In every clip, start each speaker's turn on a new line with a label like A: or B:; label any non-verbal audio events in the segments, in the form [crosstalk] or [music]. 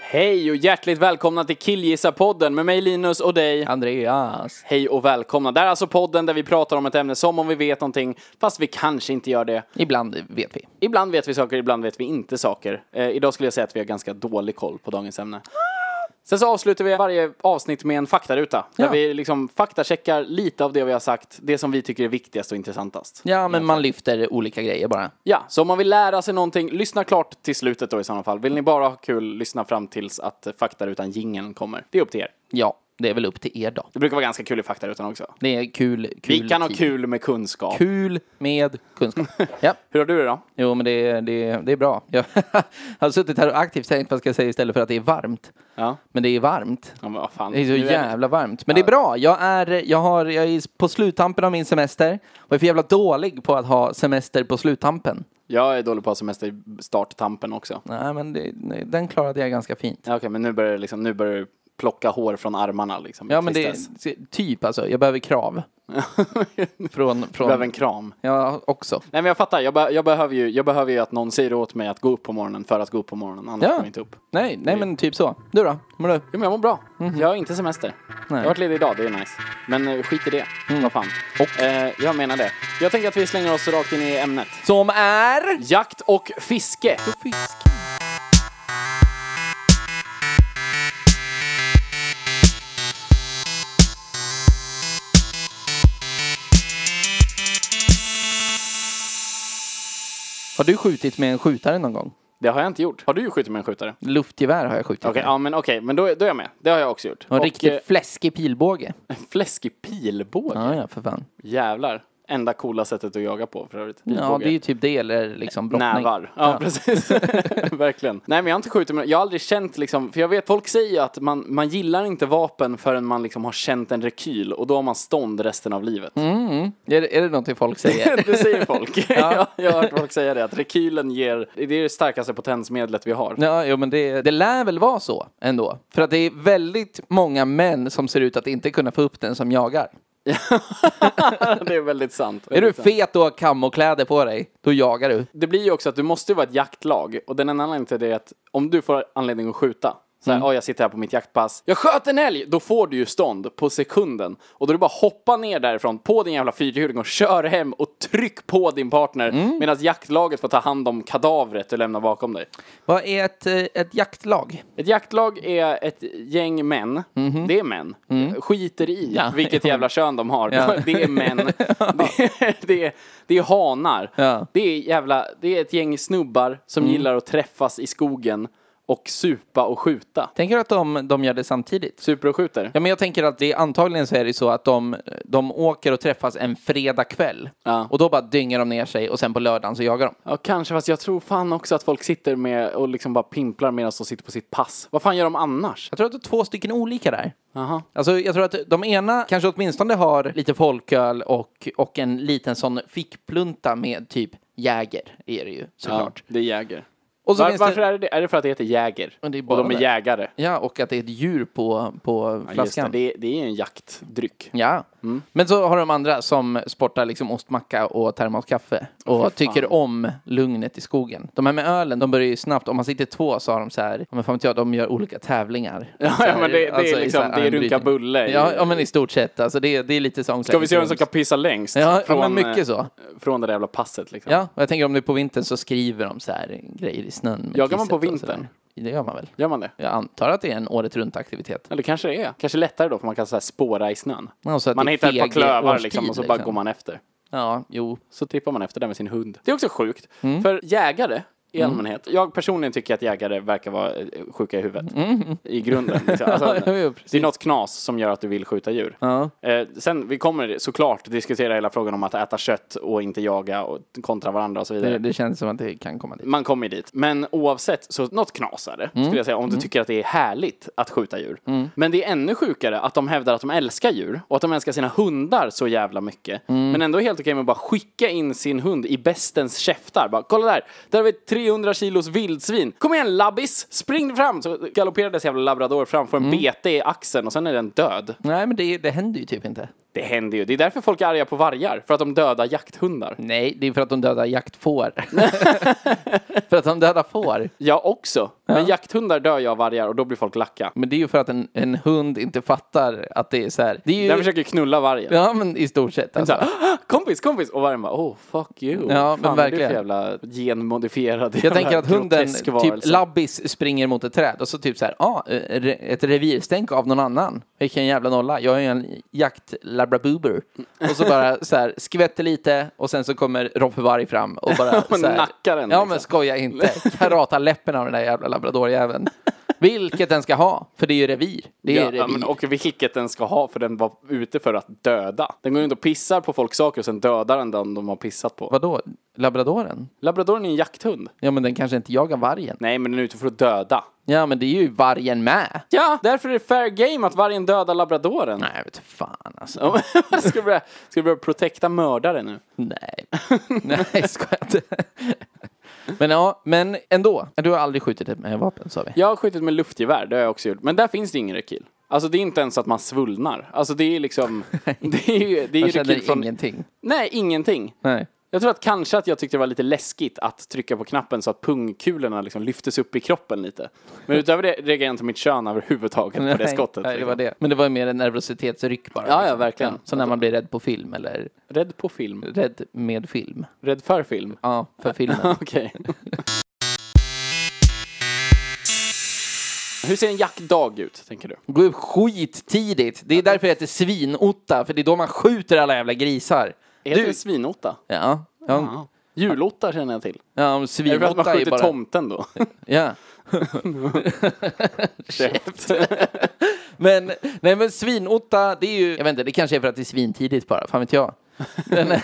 A: Hej och hjärtligt välkomna till Killgissa-podden med mig Linus och dig.
B: Andreas.
A: Hej och välkomna. Det här är alltså podden där vi pratar om ett ämne som om vi vet någonting, fast vi kanske inte gör det.
B: Ibland vet vi.
A: Ibland vet vi saker, ibland vet vi inte saker. Eh, idag skulle jag säga att vi har ganska dålig koll på dagens ämne. Sen så avslutar vi varje avsnitt med en faktaruta, där
B: Ja.
A: vi liksom faktacheckar lite av det vi har sagt, det som vi tycker är viktigast och intressantast.
B: Ja, men man lyfter olika grejer bara.
A: Ja, så om man vill lära sig någonting, lyssna klart till slutet då i sådana fall. Vill ni bara ha kul, lyssna fram tills att faktarutan jingeln kommer. Det är upp till er.
B: Ja, det är väl upp till er då.
A: Det brukar vara ganska kul i faktarutan också.
B: Det är kul, kul
A: Vi kan ha
B: tid.
A: kul med kunskap.
B: Kul med [laughs] kunskap. ja,
A: Hur har du det då?
B: jo men det, det, det är bra. Jag [laughs] har suttit här och aktivt tänkt vad ska jag säga istället för att det är varmt.
A: Ja,
B: Men det är varmt.
A: ja men vad fan.
B: Det är så
A: Nu
B: jävla varmt. Men det är bra. Jag är, jag har, jag är på sluttampen av min semester. Och är för jävla dålig på att ha semester på sluttampen.
A: Jag är dålig på att ha semester i starttampen också. Ja,
B: Nej, men det, nej, den klarade jag ganska fint.
A: Okej, men nu börjar det liksom, nu börjar du plocka hår från armarna liksom.
B: Ja, men det [laughs]
A: Tristess.
B: typ alltså. Jag behöver krav.
A: [laughs]
B: Från,
A: Jag behöver
B: från
A: en kram.
B: ja, också.
A: Nej men jag fattar, jag, be jag, behöver ju, jag behöver ju att någon säger åt mig att gå upp på morgonen för att gå upp på morgonen, annars
B: Ja.
A: kommer jag inte upp.
B: Nej, nej, men typ så. Du då? Hur mår du?
A: Jo men jag mår bra.
B: Mhm.
A: Jag har inte semester. Jag har varit ledig idag, det är nice. Men eh, skit i det.
B: Mm.
A: Vad fan. Eh, jag menar det. Jag tänker att vi slänger oss rakt in i ämnet.
B: Som är...
A: Jakt och fiske.
B: Fisk. Har du skjutit med en skjutare någon gång?
A: Det har jag inte gjort. Har du skjutit med en skjutare? Okej,
B: Luftgevär har jag skjutit med.
A: ja men okej, men då, då är jag med. Det har jag också gjort.
B: Och en riktigt
A: eh,
B: fläskig pilbåge.
A: en fläskig pilbåge.
B: Ja, ja, för fan.
A: Jävlar. Enda coola sättet att jaga på för övrigt.
B: Ja,
A: Pilbåge.
B: det är ju typ det eller liksom brottning.
A: Nävar. Ja, precis. [laughs] Verkligen. Nej, men jag har inte skjutit med Jag har aldrig känt liksom, för jag vet, folk säger ju att man, man gillar inte vapen förrän man liksom har känt en rekyl och då har man stånd resten av livet.
B: Är, det- är det någonting folk säger?
A: [laughs] det säger folk. [laughs] Ja. jag har hört folk säga det, att rekylen ger, det är det starkaste potensmedlet vi har. [laughs]
B: Ja, jo, men det, det lär väl vara så ändå. För att det är väldigt många män som ser ut att inte kunna få upp den som jagar.
A: det är väldigt sant.
B: Är du fet och har kammokläder på dig, då jagar du.
A: Det blir ju också att du måste ju vara ett jaktlag och den enda anledningen till det är att om du får anledning att skjuta så här, "Ja, jag sitter här på mitt jaktpass. Jag sköt en älg! Då får du ju stånd på sekunden. Och då är det bara att hoppa ner därifrån på din jävla fyrhjuling och kör hem och tryck på din partner medan jaktlaget får ta hand om kadavret du lämnar bakom dig.
B: Vad är ett, eh, ett jaktlag?
A: Ett jaktlag är ett gäng män. Det är män. Skiter i
B: Mhm. Mm. Ja.
A: vilket jävla kön de har.
B: [laughs] Ja.
A: Det är män. Det är, det är, det är hanar.
B: Ja. Mm.
A: Det, är jävla, det är ett gäng snubbar som gillar att träffas i skogen och supa och skjuta.
B: Tänker du att de, de gör det samtidigt?
A: Super och skjuter.
B: Ja, men jag tänker att det är, antagligen så är det så att de, de åker och träffas en fredag kväll.
A: Ja.
B: Och då bara dynger de ner sig och sen på lördagen så jagar de.
A: Ja, kanske. Fast jag tror fan också att folk sitter med och liksom bara pimplar medan de sitter på sitt pass. Vad fan gör de annars?
B: Jag tror att det är två stycken olika där.
A: Aha.
B: Alltså, jag tror att de ena kanske åtminstone har lite folköl och, och en liten sån fickplunta med typ Jäger, är det ju
A: Ja,
B: såklart.
A: det är jäger.
B: Och så
A: Var,
B: finns det-
A: varför är det det? Är det för att det heter jäger?
B: Men det är
A: och
B: bara
A: de är
B: det.
A: jägare?
B: Ja, och att det är ett djur på, på
A: Ja, just det. Mm.
B: flaskan.
A: Det, är- det är en jaktdryck.
B: Ja. Men så har de andra som sportar liksom ostmacka och termoskaffe och tycker om lugnet i skogen. De här med ölen, de börjar ju snabbt, om man sitter två så har de så här, ja, men fan vet jag, de gör olika tävlingar.
A: Ja,
B: Så här,
A: ja, men det- det är
B: i
A: liksom-
B: så här
A: det är runka
B: armbrytning.
A: bulle i-
B: Ja, ja, men i stort sett. Alltså det, är- det är lite sån
A: Ska vi se vem som kan pissa längst?
B: Ja, ja, men mycket
A: eh,
B: så.
A: Från det där jävla passet liksom.
B: Ja, och jag tänker om det är på vintern så skriver de så här grejer i snön. med
A: Jagar man på
B: kisset och så där.
A: vintern?
B: Det gör man väl.
A: Gör man det?
B: Jag antar att det är en året runt aktivitet.
A: Eller kanske det är. Kanske lättare då, för man kan så här spåra i snön.
B: Ja, så att
A: man
B: det är
A: hittar ett par
B: feg
A: klövar
B: årstid,
A: liksom, och så bara
B: liksom.
A: går man efter.
B: Ja, jo. Mm.
A: Så trippar man efter där med sin hund. Det är också sjukt, för jägare i allmänhet. Jag personligen tycker att jägare verkar vara eh, sjuka i huvudet. I grunden. Liksom. Alltså,
B: Mm. [laughs] Ja, ja, precis.
A: det är något knas som gör att du vill skjuta djur.
B: Ja.
A: Eh, sen, vi kommer såklart diskutera hela frågan om att äta kött och inte jaga och kontra varandra och så vidare.
B: Det, det känns som att det kan komma dit.
A: Man kommer ju dit. Men oavsett, så något knas är det, skulle jag säga, om du tycker att det är härligt att skjuta djur. Men det är ännu sjukare att de hävdar att de älskar djur och att de älskar sina hundar så jävla mycket. Men ändå är helt okej med att bara skicka in sin hund i bestens käftar. Bara, kolla där, där har vi 300 kilos vildsvin. Kom igen labbis, spring fram! Så galopperar dess jävla labrador fram, får en bete i axeln och sen är den död.
B: Nej, men det, det händer ju typ inte.
A: Det händer ju. Det är därför folk är arga på vargar, för att de dödar jakthundar.
B: Nej, det är för att de dödar
A: [laughs]
B: jaktfår. för att de dödar får.
A: Jag också. Men jakthundar dör ju av vargar och då blir folk lacka.
B: Men det är ju för att en, en hund inte fattar att det är så här. Det är ju...
A: Den försöker knulla vargen.
B: Ja, men i stort sett.
A: Så
B: Alltså.
A: här, "Ah, [gasps] kompis, kompis! Och vargen bara, oh fuck you.
B: Ja, men
A: vad är det
B: verkligen.
A: för jävla genmodifierad
B: Jag tänker att hunden,
A: grotesk
B: typ
A: varelse?"
B: labbis, springer mot ett träd och så typ så här, ja, ah, re- ett revirstänk av någon annan. Vilken jävla nolla. Jag är ju en jaktlabrabuber. Och så bara så här, skvätter lite och sen så kommer Roffe Varg fram och
A: [laughs]
B: bara
A: Men
B: så här,
A: nackar den,
B: Ja,
A: liksom.
B: men skoja inte. Karata läppen av den där jävla labradorjäveln. Vilket den ska ha, för det är ju revir. Det är
A: Ja,
B: revir.
A: ja, men, och vilket den ska ha, för den var ute för att döda. Den går ju inte och pissar på folks saker och sen dödar den den de har pissat på.
B: Vadå? Labradoren?
A: Labradoren är en jakthund.
B: Ja, men den kanske inte jagar vargen.
A: Nej, men den är ute för att döda.
B: Ja, men det är ju vargen med.
A: Ja, därför är det fair game att vargen dödar labradoren.
B: Nej, jag vet fan alltså.
A: Ja, men- [laughs] ska, vi börja, ska vi börja protekta mördare nu?
B: Nej. Nej, skojar inte. Men ja, men ändå. Du har aldrig skjutit ett med vapen, sa vi.
A: Jag har skjutit med luftgevär, det har jag också gjort. Men där finns det ingen rekyl. Alltså det är inte ens att man svullnar. Alltså det
B: [laughs]
A: är liksom... [laughs] Det är ju, det
B: Jag
A: är ju rekyl
B: känner
A: från...
B: ingenting.
A: Nej, ingenting.
B: Nej.
A: Jag tror att kanske att jag tyckte det var lite läskigt att trycka på knappen så att pungkulorna liksom lyftes upp i kroppen lite.
B: [laughs]
A: Men utöver det reagerade jag inte mitt kön överhuvudtaget på det
B: Nej,
A: skottet.
B: Nej, det var
A: liksom.
B: det. Men det var ju mer en nervositetsryck bara. liksom.
A: Ja, ja, verkligen.
B: Så när man blir rädd på film eller
A: Rädd på film.
B: rädd med film.
A: Rädd för film. [laughs]
B: Ja, för filmen.
A: Okej. Hur ser en jaktdag ut, tänker du?
B: [laughs] Gå upp skittidigt. Det är därför det heter svinotta, för det är då man skjuter alla jävla grisar.
A: Heter det svinotta?
B: Ja. Ja,
A: Julotta känner jag till.
B: ja men
A: Är det för att man
B: svinotta är
A: skjuter
B: bara...
A: tomten då?
B: Ja.
A: [laughs] [laughs] Käft.
B: Men, nej men svinotta, det är ju, jag vet inte, det kanske är för att det är svintidigt bara, fan vet jag. Men, [laughs]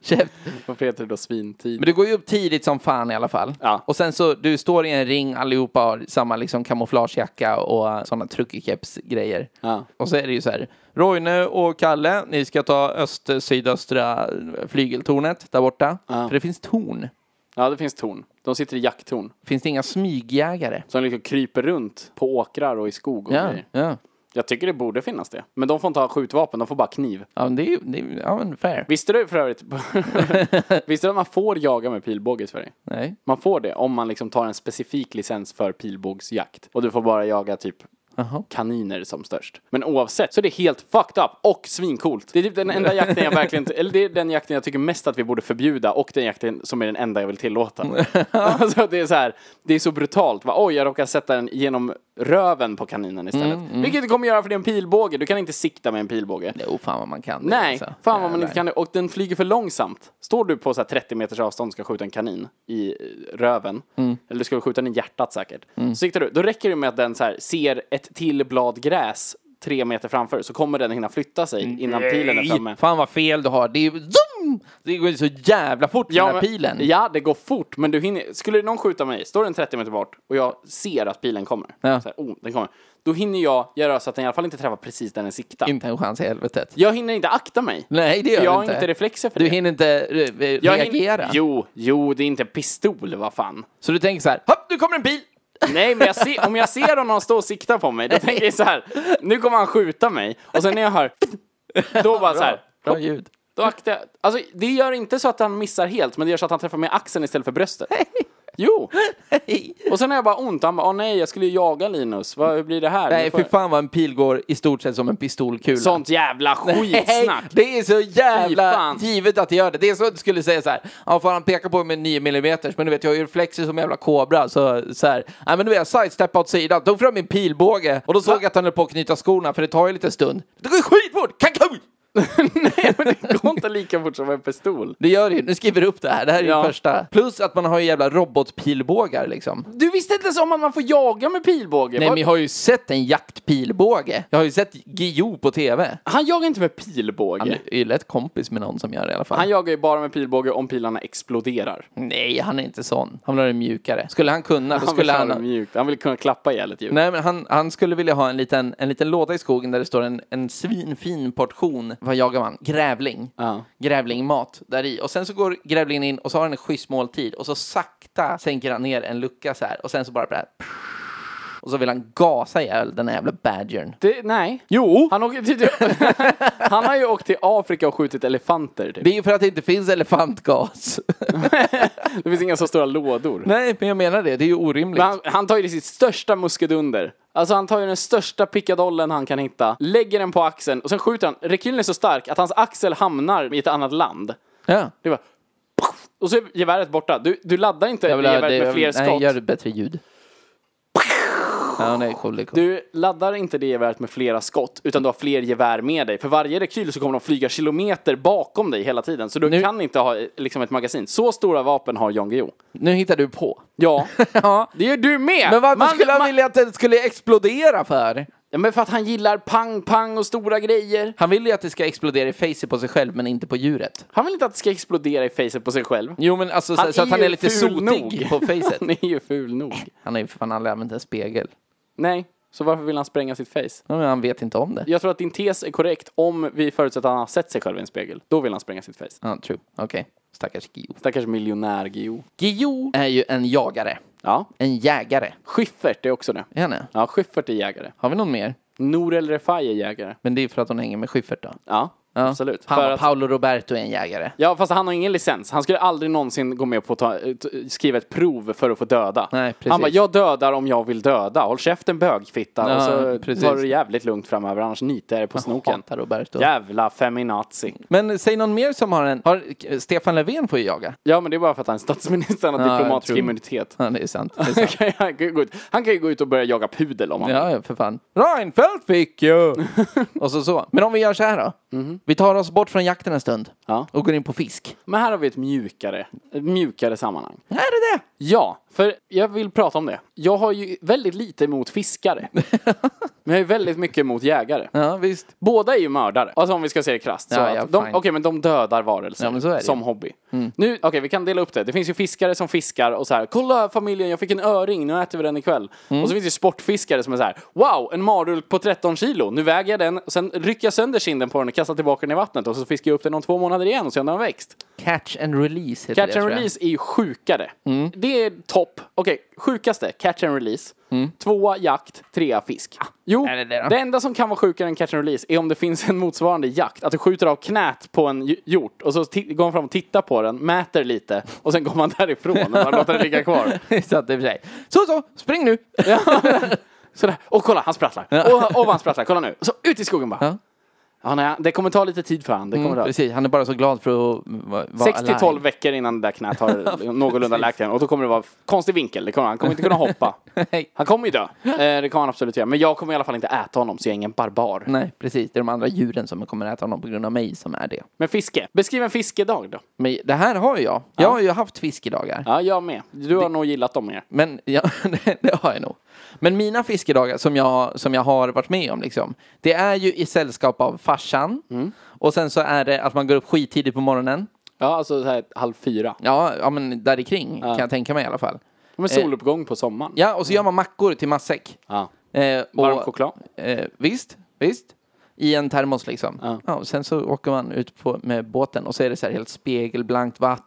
B: käft.
A: Varför heter det då svintid?
B: men du går ju upp tidigt som fan i alla fall.
A: Ja.
B: Och sen så, du står i en ring, allihopa har samma liksom kamouflagejacka och sådana truckikepsgrejer.
A: Ja.
B: Och så är det ju så här, Roine och Kalle, ni ska ta öst, sydöstra flygeltornet där borta. För det finns torn.
A: Ja, det finns torn. De sitter i jakttorn.
B: Finns det inga smygjägare?
A: Som liksom kryper runt på åkrar och i skog och
B: Ja,
A: grejer.
B: ja.
A: Jag tycker det borde finnas det. Men de får inte ha skjutvapen, de får bara kniv.
B: Ja, men det är ju, det är, ju- ja men fair.
A: Visste du för [laughs] övrigt? Visste du att man får jaga med pilbåge i Sverige?
B: Nej.
A: Man får det om man liksom tar en specifik licens för pilbågsjakt. Och du får bara jaga typ
B: Jaha.
A: kaniner som störst. Men oavsett så är det helt fucked up och svincoolt. Det är typ den enda jakten jag verkligen, eller det är den jakten jag tycker mest att vi borde förbjuda och den jakten som är den enda jag vill tillåta. alltså det är så här, det är så brutalt. Va? Oj, jag råkar sätta den genom röven på kaninen istället. Vilket du kommer göra för det är en pilbåge, du kan inte sikta med en pilbåge.
B: Jo, fan vad man kan. det,
A: Nej,
B: alltså.
A: fan vad man inte
B: Jävlar.
A: kan det. Och den flyger för långsamt. Står du på så här 30 meters avstånd och ska skjuta en kanin i eh, röven,
B: Mm.
A: eller du ska väl skjuta den i hjärtat säkert, så siktar du. Då räcker det med att den så här ser ett till blad gräs tre meter framför, så kommer den hinna flytta sig
B: Mm.
A: innan pilen är framme.
B: Fan vad fel du har. Det, är, ju- zoom! det går ju så jävla fort med den här
A: men-
B: pilen.
A: ja, det går fort, men du hinner, skulle någon skjuta mig, står den 30 meter bort och jag ser att pilen kommer,
B: Ja.
A: så här, oh, den kommer. då hinner jag göra så att den i alla fall inte träffar precis där den siktar.
B: Inte en chans i helvetet.
A: Jag hinner inte akta mig.
B: Nej, det gör
A: jag
B: du
A: har
B: inte.
A: inte reflexer för
B: Du
A: det.
B: hinner inte eh, eh,
A: Jag hin-
B: reagera.
A: Jo, jo, det är inte en pistol, vad fan.
B: Så du tänker så här, hopp, nu kommer en pil!
A: Nej, men jag ser, om jag ser honom stå och sikta på mig, då tänker jag så här, nu kommer han skjuta mig. Och sen när jag hör, då bara så här,
B: Bra ljud.
A: då aktar jag. Alltså, det gör inte så att han missar helt, men det gör så att han träffar mig i axeln istället för bröstet. Jo,
B: Nej,
A: och sen har jag bara ont. Han bara, åh nej, jag skulle ju jaga Linus. Vad, hur blir det här? Nu
B: Nej
A: får
B: för
A: jag-
B: fan vad en pil går i stort sett som en pistolkula.
A: Sånt jävla skitsnack.
B: Nej, det är så
A: Fy
B: jävla
A: fan.
B: givet att det gör det. Det är så att du skulle säga så här, ja får han peka på mig med 9 mm, men du vet jag har ju reflexer som en jävla kobra, så, så här, nej men du vet jag sidesteppade åt sidan, tog fram min pilbåge och då såg jag att han höll på att knyta skorna, för det tar ju lite stund. Det går ju skitfort, kankun!
A: [laughs] Nej, men det går inte. inte lika fort som en pistol.
B: Det gör det ju. Nu skriver du upp det här. Det här är ju
A: Ja.
B: första. Plus att man har ju jävla robotpilbågar liksom.
A: Du visste inte ens om att man får jaga med pilbåge?
B: Nej,
A: Vad-
B: men jag har ju sett en jaktpilbåge. Jag har ju sett Guillou på tv.
A: Han jagar inte med pilbåge.
B: Han är ju lätt kompis med någon som gör det i alla fall.
A: Han jagar ju bara med pilbåge om pilarna exploderar.
B: Nej, han är inte sån. Han vill ha det mjukare. Skulle han kunna, då
A: Han vill
B: skulle
A: ha
B: han...
A: det mjukt. Han vill kunna klappa ihjäl ett djur.
B: Nej, men han, han skulle vilja ha en liten, en liten låda i skogen där det står en, en svinfin portion, vad jagar man? Grävling.
A: Ja.
B: Grävlingmat där i. Och sen så går grävlingen in och så har den en schysst måltid och så sakta sänker han ner en lucka så här och sen så bara... Bär. Och så vill han gasa ihjäl den här jävla badgern.
A: Det, nej.
B: Jo!
A: Han, åker till, han har ju åkt till Afrika och skjutit elefanter. Typ.
B: Det är ju för att det inte finns elefantgas. [laughs]
A: Det finns inga så stora lådor.
B: Nej, men jag menar det. Det är ju orimligt.
A: Men han, han tar ju sitt största muskedunder. Alltså han tar ju den största pickadollen han kan hitta, lägger den på axeln och sen skjuter han. Rekylen är så stark att hans axel hamnar i ett annat land.
B: Ja.
A: Det var och så är geväret borta. Du, du laddar inte
B: Jag vill ha
A: geväret
B: det,
A: med fler
B: Nej,
A: skott.
B: gör ett bättre ljud. Ja, nej, cool, det är cool.
A: Du laddar inte det geväret med flera skott, utan du har fler gevär med dig. För varje rekyl så kommer de flyga kilometer bakom dig hela tiden, så du
B: Nu-
A: kan inte ha eh, liksom ett magasin. Så stora vapen har Jan Guillou.
B: Nu hittar du på.
A: Ja,
B: [laughs] Ja.
A: det gör du med!
B: Men varför
A: Man-
B: skulle han
A: man-
B: vilja att det skulle explodera för?
A: Ja, men för att han gillar pang-pang och stora grejer.
B: Han vill ju att det ska explodera i facet på sig själv, men inte på djuret.
A: Han vill inte att det ska explodera i facet på sig själv. [laughs]
B: Jo, men alltså så,
A: Han
B: så att
A: är
B: han
A: ju
B: är lite
A: ful
B: sotig
A: nog.
B: på facet.
A: Han är ju ful nog.
B: [laughs] Han har ju för fan aldrig använt en spegel.
A: Nej, så varför vill han spränga sitt face?
B: Ja, Men han vet inte om det.
A: Jag tror att din tes är korrekt om vi förutsätter att han har sett sig själv i en spegel. Då vill han spränga sitt face.
B: Ja, true. Okej. Stackars Guillou.
A: Stackars miljonär Guillou.
B: Guillou är ju en jagare.
A: Ja,
B: En jägare.
A: Schyffert är också det.
B: Är han det?
A: Ja, Schyffert är jägare.
B: Har vi någon mer?
A: Nour El Refai är jägare.
B: Men det är för att hon hänger med Schyffert då.
A: Ja,
B: Ja.
A: absolut.
B: Han
A: För
B: och
A: att,
B: Paolo Roberto är en jägare.
A: ja, fast han har ingen licens. Han skulle aldrig någonsin gå med på att ta, t- skriva ett prov för att få döda.
B: Nej, precis.
A: han bara, jag dödar om jag vill döda. Håll käften bögfitta.
B: Ja,
A: och så
B: precis.
A: tar du det jävligt lugnt framöver, annars nitar jag dig på snoken.
B: Hatar Roberto.
A: Jävla feminazi.
B: Men säg någon mer som har en... Har, Stefan Löfven får ju jaga.
A: Ja, men det är bara för att han är statsminister. Han har
B: Ja, jag
A: diplomatisk
B: tror-
A: immunitet.
B: [laughs] Ja, det är sant.
A: [laughs]
B: Det är sant.
A: Han kan, ju- han, kan ju gå ut, han kan ju gå ut och börja jaga pudel om han
B: Ja, ja, för fan. Reinfeldt fick ju! [laughs] Mhm. och så så. Men om vi gör så här då. Vi tar oss bort från jakten en stund
A: Ja.
B: och går in på fisk.
A: Men här har vi ett mjukare, ett mjukare sammanhang.
B: Är det det?
A: Ja, för jag vill prata om det. Jag har ju väldigt lite
B: [laughs]
A: emot fiskare. men jag har ju väldigt mycket emot jägare.
B: Ja, visst.
A: Båda är ju mördare. Alltså om vi ska se det krasst. så
B: Ja,
A: att
B: ja,
A: de,
B: fine.
A: Okej, men de dödar varelser
B: Ja, men så är det
A: som
B: ju. Mm.
A: hobby. Nu, Okej, vi kan dela upp det. Det finns ju fiskare som fiskar och så här, kolla familjen, jag fick en öring, nu äter vi den ikväll.
B: Mm.
A: Och så finns det ju sportfiskare som är så här, wow, en marulk på 13 kilo, nu väger jag den, och sen rycker jag sönder kinden på den och kastar tillbaka den i vattnet och så fiskar jag upp den om två månader igen och sen har den växt.
B: Catch and release heter
A: Catch
B: det,
A: and
B: tror jag. Mm.
A: release är ju sjukare. Det är topp. Okej, sjukaste, catch and release. Tvåa, jakt. Trea, fisk. Jo,
B: Mm. Ah, är det det då?
A: det enda som kan vara sjukare än catch and release är om det finns en motsvarande jakt. Att du skjuter av knät på en hj- hjort och så ti- går man fram och tittar på den, mäter lite och sen går man [laughs] därifrån och bara låter den ligga kvar.
B: Det är sant i och för sig. [laughs] Så, så! Spring nu!
A: Sådär. Och kolla, han sprattlar. Och, och han sprattlar, kolla nu. Så ut i skogen bara.
B: Ja. Mm,
A: Ja. nej, det kommer ta lite tid för han. Det kommer
B: [laughs]
A: ta.
B: Precis, han är bara så glad för att va- vara
A: 6 till
B: alive.
A: 12 veckor innan det där knät har någorlunda läkt igen. Och då kommer det vara konstig vinkel. Det kommer, han kommer inte
B: [laughs]
A: kunna hoppa.
B: [laughs] Nej.
A: Han kommer ju dö. Eh, det kan han absolut göra. Men jag kommer i alla fall inte äta honom, så jag är ingen barbar.
B: Nej, precis. Det är de andra djuren som kommer äta honom på grund av mig som är det.
A: Men fiske. Beskriv en fiskedag då.
B: Men det här har ju jag. Jag har ju haft fiskedagar.
A: Ja, jag med. Du har nog gillat dem mer.
B: Men ja, [laughs] det, det har jag nog. Men mina fiskedagar som jag, som jag har varit med om, liksom, det är ju i sällskap av farsan.
A: Mm.
B: Och sen så är det att man går upp skittidigt på morgonen.
A: Ja, alltså så här halv fyra.
B: Ja, ja men där i kring kan jag tänka mig i alla fall.
A: Men soluppgång på sommaren.
B: Ja, och så gör man mackor till matsäck.
A: Ja.
B: Eh, och-
A: Varm choklad.
B: Eh, visst, visst. I en termos liksom. Ja. och sen så åker man ut på, med båten och så är det så här helt spegelblankt vatten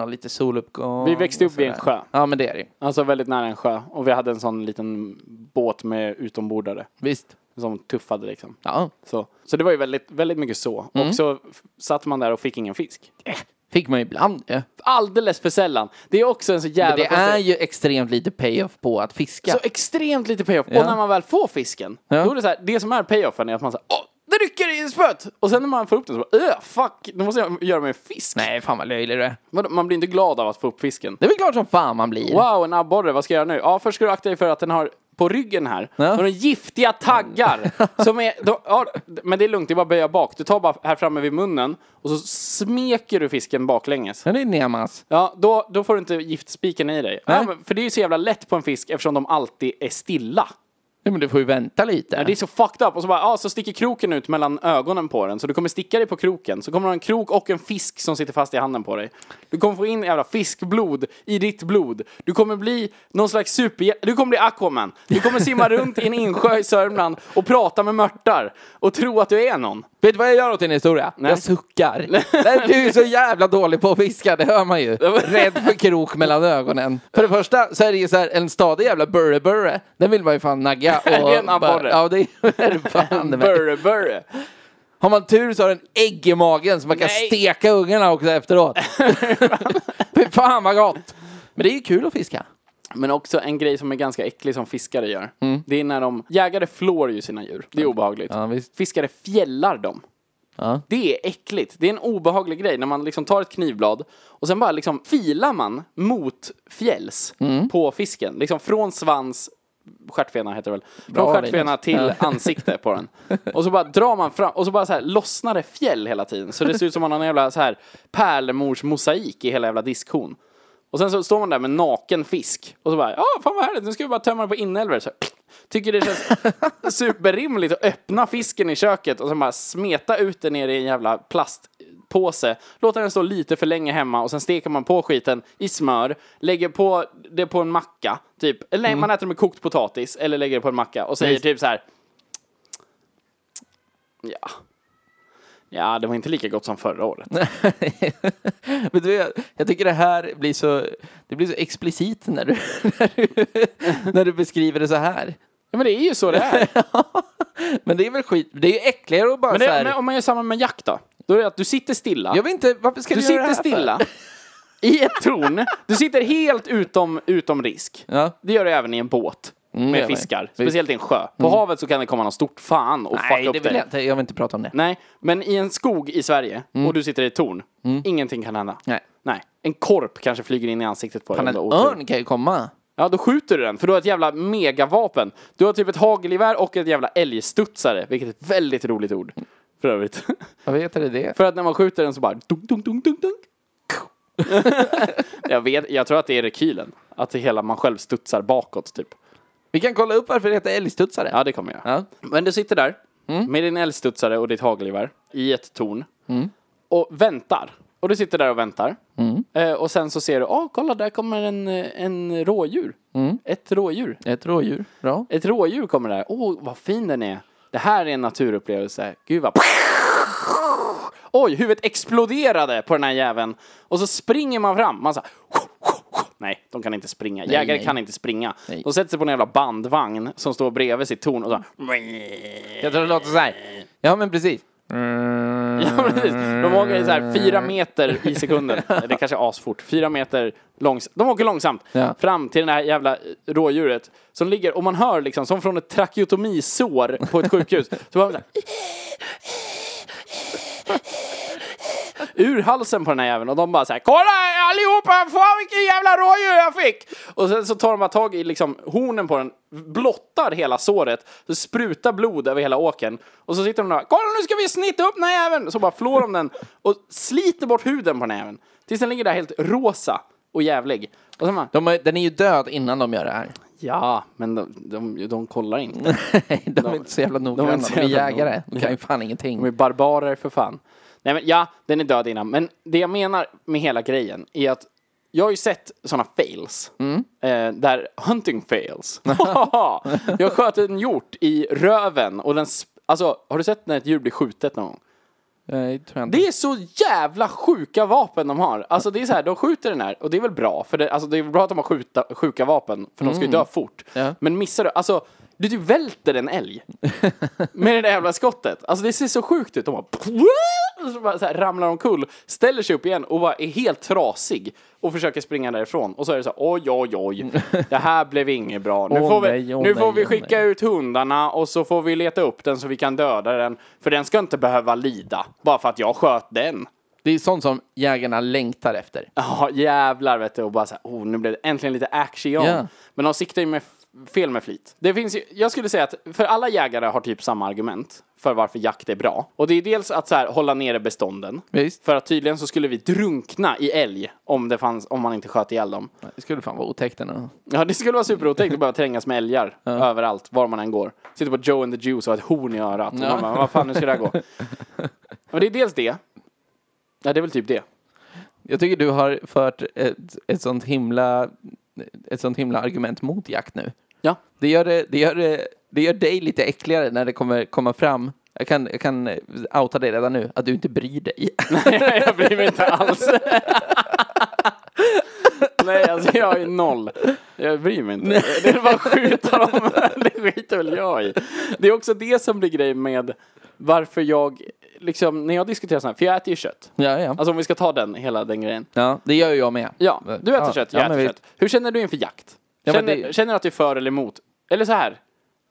B: och lite soluppgång.
A: Vi växte
B: och
A: upp vid en
B: sådär.
A: sjö.
B: Ja, men det är det ju.
A: Alltså väldigt nära en sjö. Och vi hade en sån liten båt med utombordare.
B: Visst.
A: Som tuffade liksom.
B: Ja.
A: Så, så det var ju väldigt, väldigt mycket så. Och så f- satt man där och fick ingen fisk.
B: Fick man ju ibland ju.
A: Alldeles för sällan. Det är också en så
B: Men
A: jävla
B: det
A: konstig-
B: är ju extremt lite payoff på att fiska.
A: Så extremt lite payoff.
B: Ja.
A: Och när man väl får fisken, då är det så här, det som är payoffen är att man säger åh, det rycker i spöet! Och sen när man får upp den så bara, öh, fuck, nu måste jag göra mig fisk.
B: Nej, fan vad löjlig du är.
A: Vadå, Man blir inte glad av att få upp fisken.
B: Det är väl klart som fan man blir.
A: Wow, en abborre, vad ska jag göra nu? Ja, först ska du akta dig för att den har på ryggen här,
B: Ja.
A: har den
B: [laughs]
A: giftiga taggar. som är, de, ja, men det är lugnt, det är bara att böja bak. Du tar bara här framme vid munnen och så smeker du fisken baklänges.
B: Ja, det är Nemas.
A: Ja, då, då får du inte giftspiken i dig. Ja,
B: Nej.
A: men, för det är ju så jävla lätt på en fisk eftersom de alltid är stilla.
B: Nej, men du får ju vänta lite.
A: Det är så fucked up. Och så bara, ja, så sticker kroken ut mellan ögonen på den. Så du kommer sticka dig på kroken. Så kommer du ha en krok och en fisk som sitter fast i handen på dig. Du kommer få in jävla fiskblod i ditt blod. Du kommer bli någon slags super... Du kommer bli Aquaman. Du kommer simma runt i en insjö i Sörmland och prata med mörtar. Och tro att du är någon.
B: Vet du vad jag gör åt din historia? Jag
A: [laughs]
B: suckar. Nej, du är så jävla dålig på att fiska, det hör man ju. Rädd för krok mellan ögonen. För det första så är det ju så här, en stadig jävla burre-burre. Den vill man ju fan nagga. Och
A: [laughs] Det är en abborre.
B: Ja,
A: [laughs]
B: det är det fan. med.
A: Burre, burre.
B: Har man tur så har den ägg i magen så man kan
A: Nej.
B: steka ungarna också
A: [laughs]
B: efteråt. Fy fan vad gott. Men det är ju kul att fiska.
A: Men också en grej som är ganska äcklig som fiskare gör. Det är när de... Jägare flår ju sina djur. Det är obehagligt.
B: Mm. Ja, visst.
A: Fiskare fjällar dem.
B: Ja.
A: Det är äckligt. Det är en obehaglig grej när man liksom tar ett knivblad och sen bara liksom filar man mot fjälls
B: Mm.
A: på fisken. Liksom från svans, stjärtfena heter det väl, från
B: Bra,
A: stjärtfena
B: Linus.
A: till
B: Ja.
A: ansikte på
B: [laughs]
A: den. Och så bara drar man fram och så bara så här lossnar det fjäll hela tiden. Så det ser ut som man har en jävla så här pärlemorsmosaik i hela jävla diskhon. Och sen så står man där med naken fisk och så bara, ja fan vad härligt, nu ska vi bara tömma det på inälvor. Så, här, tycker det känns superrimligt att öppna fisken i köket och sen bara smeta ut den ner i en jävla plastpåse. Låta den stå lite för länge hemma och sen steker man på skiten i smör, lägger på det på en macka, typ. Eller nej, man äter det med kokt potatis eller lägger det på en macka och säger
B: Visst.
A: typ så här. Ja. Ja, det var inte lika gott som förra året.
B: [laughs] Vet du, jag, jag tycker det här blir så, det blir så explicit när du, [laughs] när, du, när du beskriver det så här.
A: Ja, men det är ju så det är.
B: Men det är väl skit, det är ju äckligare att bara
A: Men
B: så här,
A: det, men om man gör samma med jakt då? Då är det att du sitter stilla.
B: Jag vet inte, varför ska
A: Du
B: du, göra
A: sitter
B: det här för?
A: stilla i ett torn. Du sitter helt utom, utom risk.
B: Ja. Mm,
A: Det gör du även i en båt med
B: jag vet.
A: fiskar. Speciellt i en sjö. På havet så kan det komma någon stort fan och
B: Mm. Nej,
A: fucka
B: det
A: upp
B: vill jag
A: dig.
B: inte. Jag vill inte prata om det.
A: Nej, men i en skog i Sverige och du sitter i ett torn. Ingenting kan hända.
B: Mm. Nej.
A: Nej. En korp kanske flyger in i ansiktet på dig.
B: Fan,
A: om
B: en
A: du har otur.
B: örn kan ju komma.
A: Ja, då skjuter du den, för du har ett jävla megavapen. Du har typ ett hagelgevär och ett jävla älgstudsare, vilket är ett väldigt roligt ord. För övrigt.
B: Vad vet du det?
A: För att när man skjuter den så bara dunk, dunk, dunk, dunk, dunk. [laughs] jag, vet, jag tror att det är rekylen. Att det hela man själv studsar bakåt typ.
B: Vi kan kolla upp varför det heter älgstudsare.
A: Ja, det kommer jag. Mm.
B: Ja.
A: Men du sitter där med din älgstudsare och ditt hagelgevär i ett torn och väntar. Och du sitter där och väntar. Eh, och sen så ser du, ah kolla där kommer en, eh, en rådjur. Ett rådjur.
B: Ett rådjur. Bra.
A: Ett rådjur kommer där. Åh, vad fin den är. Det här är en naturupplevelse. Gud vad... Oj, huvudet exploderade på den här jäveln. Och så springer man fram. Man så här... Nej, de kan inte springa. Jägare
B: nej.
A: kan inte springa.
B: Nej.
A: De sätter sig på en jävla bandvagn som står bredvid sitt torn och så här...
B: Jag tror det låter så här. Ja, men precis.
A: Ja, precis. De åker i så här fyra meter i sekunden. Det kanske är asfort. Fyra meter långsamt. De åker långsamt
B: Ja.
A: fram till det här jävla rådjuret som ligger och man hör liksom som från ett trakeotomisår på ett sjukhus. Så bara så här, ur halsen på den här jäveln och de bara så här Kolla allihopa, fan vilken jävla rådjur jag fick! Och sen så tar de bara tag i liksom hornen på den, blottar hela såret, så sprutar blod över hela åkern. Och så sitter de där, kolla nu ska vi snitta upp den här jäveln! Så bara flår de den och sliter bort huden på den här jäveln. Tills den ligger där helt rosa och jävlig. Och sen bara,
B: De är, den är ju död innan de gör det [laughs] här.
A: ja, men de, de, de kollar inte.
B: Nej, de är inte så jävla noggranna. De
A: inte så
B: är
A: jävla
B: jägare.
A: noggranna.
B: De kan ju fan
A: De är
B: ingenting.
A: barbarer för fan. Nej men ja, den är död innan. Men det jag menar med hela grejen är att jag har ju sett sådana fails. Eh, där hunting fails. [laughs] jag sköt en hjort i röven och den... sp- Alltså, har du sett när ett djur blir skjutet någon gång?
B: Nej, tror jag inte.
A: Det är så jävla sjuka vapen de har. Alltså det är så här, de skjuter den här och det är väl bra. För det, alltså, det är väl bra att de har skjuta, sjuka vapen, för de ska ju dö fort.
B: Ja.
A: Men missar du, alltså du typ välter en älg med det där jävla skottet. Alltså det ser så sjukt ut. De bara... och så bara så här, ramlar omkull, ställer sig upp igen och bara är helt trasig och försöker springa därifrån. Och så är det så här, oj, oj, oj, det här blev inget bra.
B: [laughs]
A: Nu
B: Åh
A: får vi,
B: nej, åh
A: nu
B: nej,
A: får vi
B: åh
A: skicka
B: nej."
A: ut hundarna och så får vi leta upp den så vi kan döda den. För den ska inte behöva lida, bara för att jag sköt den.
B: Det är sånt som jägarna längtar efter.
A: [laughs] Ja, jävlar vet du. Och bara så här, oh, nu blev det äntligen lite action.
B: Ja.
A: Men de siktar ju med f- fel med flit. Det finns ju, jag skulle säga att, för alla jägare har typ samma argument för varför jakt är bra. Och det är dels att så här, hålla nere bestånden.
B: Visst.
A: För att tydligen så skulle vi drunkna i älg om, det fanns, om man inte sköt ihjäl dem.
B: Det skulle fan vara otäckt ändå.
A: Ja, det skulle vara superotäckt att behöva trängas med älgar överallt, var man än går. Sitter på Joe and the Juice och har ett horn i örat. Och man bara, vad fan, nu ska det här gå? Men det är dels det. Ja, det är väl typ det.
B: Jag tycker du har fört ett, ett, sånt himla, ett sånt himla argument mot jakt nu.
A: Ja.
B: Det gör, det, det gör, det, det gör dig lite äckligare när det kommer komma fram. Jag kan, jag kan eh, outa dig redan nu, att du inte bryr dig.
A: Nej, [laughs] jag bryr mig inte alls. [laughs] Nej, alltså jag är noll. Jag bryr mig inte. Det är bara att skjuta dem. [laughs] Det skiter väl jag i. Det är också det som blir grejen med varför jag, liksom, när jag diskuterar sådana här, för jag äter ju kött.
B: ja, ja.
A: Alltså om vi ska ta den, hela den grejen.
B: ja, det gör ju jag med.
A: Ja, du äter
B: Ja,
A: kött, jag
B: ja, men
A: äter
B: vi-
A: kött. Hur känner du inför jakt?
B: Ja, men
A: känner,
B: det-
A: känner du att du är för eller emot? Eller så här,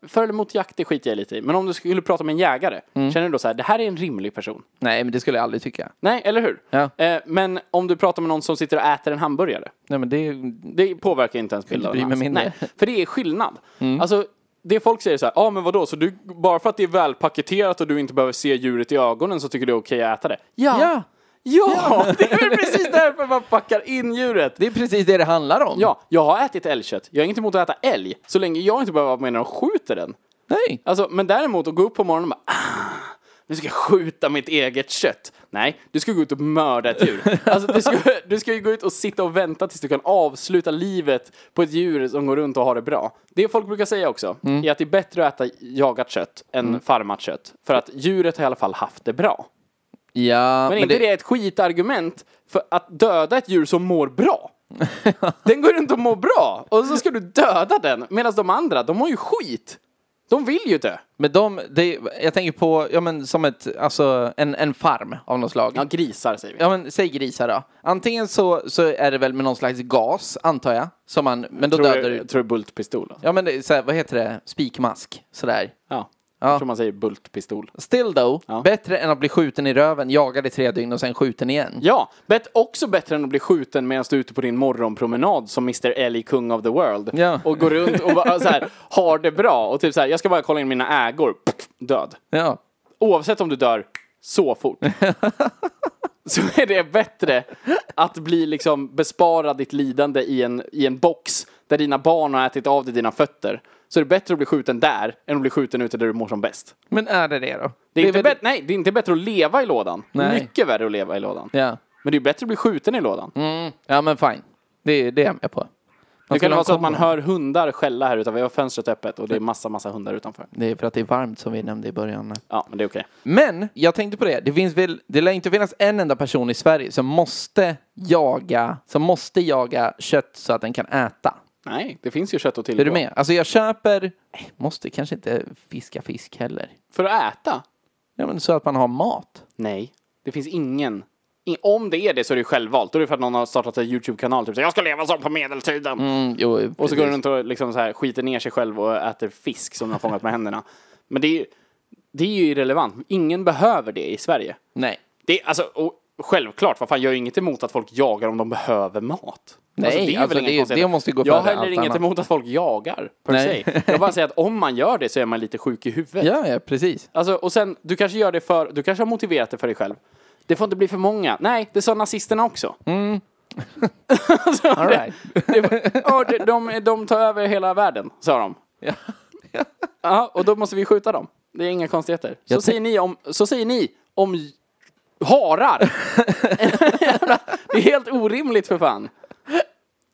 A: för eller emot jakt, det skiter jag lite i. Men om du skulle prata med en jägare,
B: Mm.
A: känner du då så här, det här är en rimlig person?
B: Nej, men det skulle jag aldrig tycka.
A: Nej, eller hur?
B: Ja.
A: Eh, men om du pratar med någon som sitter och äter en hamburgare,
B: Nej, men det,
A: det påverkar inte ens bilden.
B: Jag bryr mig
A: alls.
B: mindre. Mm.
A: Nej, för det är skillnad. Alltså, det folk säger så här, ja ah, men vadå, så du, bara för att det är välpaketerat och du inte behöver se djuret i ögonen så tycker du det är okej att äta det? Ja!
B: ja,
A: Ja! [laughs] Det är väl precis därför man packar in djuret!
B: det är precis det det handlar om.
A: Ja, jag har ätit älgkött. Jag är inte emot att äta älg, så länge jag inte behöver vara med när de skjuter den.
B: Nej.
A: Alltså, men däremot att gå upp på morgonen och bara ah, nu ska jag skjuta mitt eget kött. Nej, du ska gå ut och mörda ett [laughs] djur. Alltså, du, ska, du ska ju gå ut och sitta och vänta tills du kan avsluta livet på ett djur som går runt och har det bra. Det folk brukar säga också är att det är bättre att äta jagat kött än farmat kött. För att djuret har i alla fall haft det bra.
B: Ja,
A: Men, inte det... är ett skitargument för att döda ett djur som mår [laughs] bra. den går inte att må bra och så ska du döda den medan de andra, de mår ju skit. De vill ju dö.
B: Men de, det, jag tänker på, ja men som ett, alltså en, en farm av något slag.
A: Ja, grisar säger vi.
B: Ja men säg grisar då. Antingen så, så är det väl med någon slags gas, antar jag. Som man, men då
A: tror,
B: dödar du.
A: jag, tror det är bultpistol. alltså.
B: Ja men det är så här, vad heter det? Spikmask. Sådär.
A: Ja.
B: Ja.
A: Jag tror man säger bultpistol.
B: Still though,
A: Ja.
B: bättre än att bli skjuten i röven, jagad i tre dygn och sen skjuten igen.
A: Ja, bet också bättre än att bli skjuten medan du är ute på din morgonpromenad som Mr. Ellie, kung of the world.
B: Ja.
A: Och går runt och bara, så här, har det bra. Och typ så här, jag ska bara kolla in mina ägor. Pff, Död.
B: Ja.
A: oavsett om du dör så fort, så är det bättre att bli liksom besparad ditt lidande i en, i en box där dina barn har ätit av dig dina fötter. Så är det bättre att bli skjuten där än att bli skjuten ute där du mår som bäst.
B: Men är det det då?
A: Det är, inte
B: väl-
A: bättre, nej, det är inte bättre att leva i lådan.
B: Nej.
A: Mycket värre att leva i lådan.
B: Ja. Mm,
A: Men det är bättre att bli skjuten i lådan.
B: ja men fine. Det, det är jag med på. Man
A: Nu
B: ska
A: kan det
B: ha
A: vara så att
B: kombo.
A: man hör hundar skälla här utanför. Vi har fönstret öppet och det är massa, massa hundar utanför.
B: Det är för att det är varmt som vi nämnde i början.
A: Ja, men det är okej.
B: Men jag tänkte på det, det finns väl, det lär inte finnas en enda person i Sverige som måste jaga, som måste jaga kött så att den kan äta.
A: Nej, det finns ju kött att tillgå.
B: Är du med? Alltså jag köper, nej, måste kanske inte fiska fisk heller.
A: För att äta?
B: Ja men så att man har mat.
A: Nej, det finns ingen. In, om det är det så är det självvalt. Då är det för att någon har startat en YouTube-kanal. Typ så här, jag ska leva som på medeltiden.
B: Mm, jo,
A: Och så går den runt och liksom så här, skiter ner sig själv och äter fisk som den har fångat med händerna. Men det är, ju- det är ju irrelevant. Ingen behöver det i Sverige.
B: Nej.
A: Det är, alltså, och självklart, vad fan, jag är ju inget emot att folk jagar om de behöver mat.
B: Nej,
A: ju
B: alltså,
A: väl inga
B: det-
A: konstigheter.
B: det måste ju gå
A: Jag har
B: före
A: heller
B: allt
A: inget
B: annat.
A: emot att folk jagar, per
B: Nej.
A: se. Jag bara säger att om man gör det så är man lite sjuk i huvudet.
B: Ja, ja, [laughs] precis.
A: Alltså, och sen, du kanske gör det för, du kanske har motiverat det för dig själv. Det får inte bli för många. Nej, det sa nazisterna också.
B: All right.
A: Det var, "Ja, de, de, de tar över hela världen, sa de.
B: Ja.
A: Ja, och då måste vi skjuta dem. Det är inga konstigheter. Så,
B: Jag
A: säger, ni om, så säger ni om j- harar. det är helt orimligt för fan.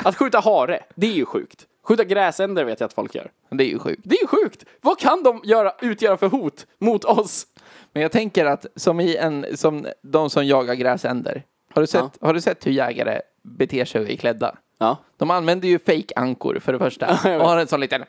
A: Att skjuta hare, det är ju sjukt. Skjuta gräsänder vet jag att folk gör.
B: Det är ju sjukt.
A: Det är ju sjukt! Vad kan de göra, utgöra för hot mot oss?
B: Men jag tänker att som i en, som de som jagar gräsänder. Har du sett, har du sett hur jägare beter sig och är klädda?
A: Ja.
B: De använder ju fake
A: [laughs]
B: ankor för det första. Och har en sån liten...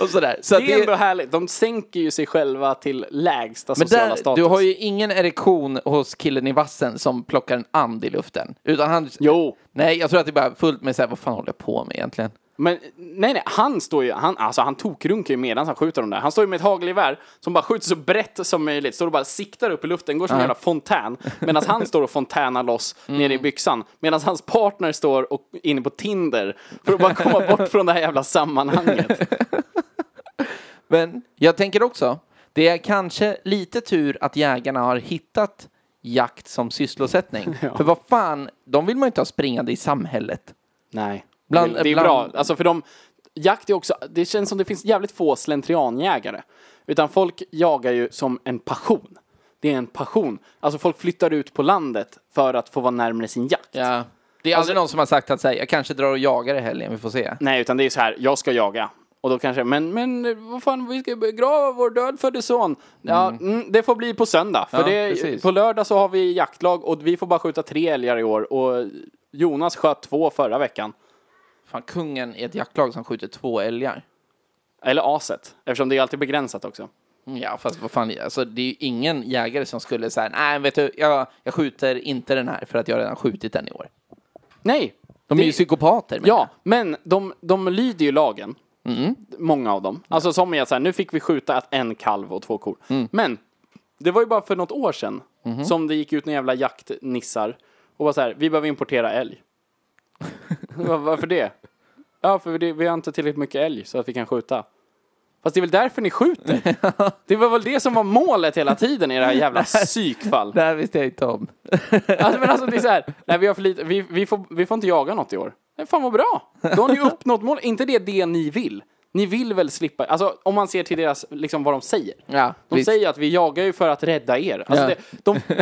B: och sådär. Så att
A: Det är ändå härligt. De sänker ju sig själva till lägsta
B: men
A: sociala
B: där,
A: status.
B: du har ju ingen erektion hos killen i vassen som plockar en and i luften. Utan han...
A: Jo.
B: Nej, jag tror att det är bara fullt med såhär, vad fan håller jag på med egentligen?
A: Men nej, nej, han står ju, han, alltså han tokrunkar ju medan han skjuter dem där. Han står ju med ett hagelgevär som bara skjuter så brett som möjligt. Står och bara siktar upp i luften, går som en jävla fontän. Medan han står och fontänar loss
B: Mm.
A: nere i byxan. Medan hans partner står och är inne på Tinder för att bara komma bort från det här
B: [laughs]
A: jävla sammanhanget.
B: Men jag tänker också, det är kanske lite tur att jägarna har hittat jakt som
A: [laughs]
B: sysselsättning. För vad fan, de vill man ju inte ha springande i samhället.
A: Nej.
B: Bland-
A: det är
B: bland-
A: bra. Alltså för de, jakt är också, det känns som det finns jävligt få slentrianjägare. Utan folk jagar ju som en passion. Det är en passion. Alltså folk flyttar ut på landet för att få vara närmare sin jakt.
B: Ja. Det är aldrig någon som har sagt att så här, jag kanske drar och jagar i helgen, vi får se.
A: Nej, utan det är ju så här, jag ska jaga. Och då kanske, men, men vad fan, vi ska begrava vår dödfödde son. Ja, mm, det får bli på söndag. För
B: Ja,
A: det,
B: precis.
A: på lördag så har vi jaktlag och vi får bara skjuta tre älgar i år. Och Jonas sköt två förra veckan.
B: Fan, kungen är ett jaktlag som skjuter två älgar.
A: Eller aset, eftersom det är alltid begränsat också.
B: Mm, Ja, fast vad fan, alltså, det är ju ingen jägare som skulle säga, nej, vet du, jag, jag skjuter inte den här för att jag har redan skjutit den i år.
A: Nej!
B: De är
A: Det-
B: ju psykopater. menar
A: Ja, men de, de lyder ju lagen. Många av dem. Alltså som är så här, nu fick vi skjuta ett- en kalv och två kor. Men det var ju bara för något år sedan som det gick ut några jävla jaktnissar och var så här, vi behöver importera älg. [laughs] Var- Varför det? Ja, för det, vi har inte tillräckligt mycket älg så att vi kan skjuta. Fast det är väl därför ni skjuter? Det var väl det som var målet hela tiden i det här jävla psykfall.
B: jag. Det här visste jag inte om.
A: Alltså, men alltså det är så här, nej, vi, har för lite, vi, vi, får, vi får inte jaga något i år. Nej, fan vad bra! Då har ni uppnått målet. inte det det ni vill? Ni vill väl slippa, alltså om man ser till deras, liksom vad de säger.
B: Ja,
A: De
B: visst.
A: säger att vi jagar ju för att rädda er. Alltså
B: Ja.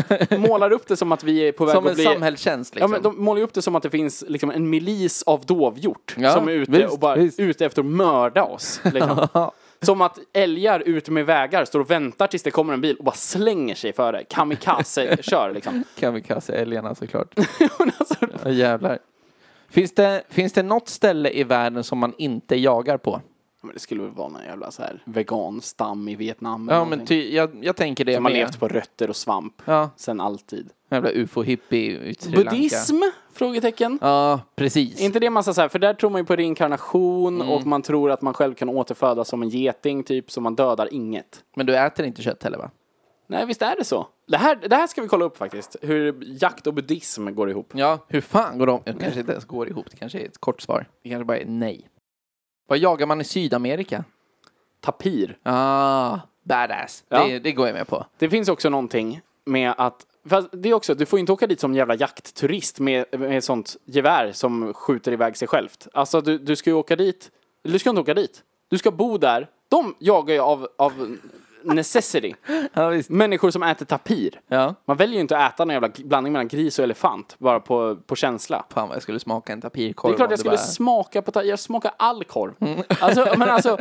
A: det, de målar upp det som att vi är på väg
B: Som
A: att
B: en
A: bli...
B: samhällstjänst
A: Ja,
B: liksom.
A: men de målar ju upp det som att det finns liksom, en milis av dovhjort
B: Ja,
A: som är ute
B: visst,
A: och bara
B: visst.
A: ute efter att mörda oss.
B: [laughs]
A: Liksom. som att älgar ute med vägar står och väntar tills det kommer en bil och bara slänger sig före. Kamikaze-kör liksom.
B: Kan vi kassa älgarna såklart.
A: Men alltså,
B: [laughs] Ja, jävlar. Finns det, finns det något ställe i världen som man inte jagar på?
A: Men det skulle väl vara någon jävla så här veganstam i Vietnam eller
B: Ja, men
A: någonting.
B: ty, jag, jag tänker det
A: Som har
B: med.
A: levt på rötter och svamp
B: Ja.
A: sen alltid.
B: Jävla ufo-hippie i Sri Lanka.
A: Buddhism? Frågetecken.
B: Ja, precis. Mm.
A: Är inte det massa så här, för där tror man ju på reinkarnation och man tror att man själv kan återfödas som en geting typ, så man dödar inget.
B: Men du äter inte kött heller va?
A: Nej, visst är det så? Det här, det här ska vi kolla upp faktiskt, hur jakt och buddhism går ihop.
B: Ja. Hur fan går de? Det kanske inte ens går ihop. Det kanske är ett kort svar. Det kanske bara är nej. Vad jagar man i Sydamerika?
A: Tapir.
B: Ah, badass.
A: Ja.
B: Det, det går jag med
A: [laughs]
B: på.
A: Det finns också någonting med att Fast det är också, du får ju inte åka dit som jävla jaktturist med, med sånt gevär som skjuter iväg sig självt. Alltså du, du ska ju åka dit, eller du ska inte åka dit. Du ska bo där. De jagar ju av, av necessity.
B: Ja, visst.
A: Människor som äter tapir.
B: Ja.
A: Man väljer ju inte att äta någon jävla blandning mellan gris och elefant, bara på, på känsla.
B: Fan vad jag skulle smaka en tapirkorv
A: Det är klart
B: om
A: jag skulle
B: bara-
A: smaka på ta- jag smakar all korv. Alltså, men alltså,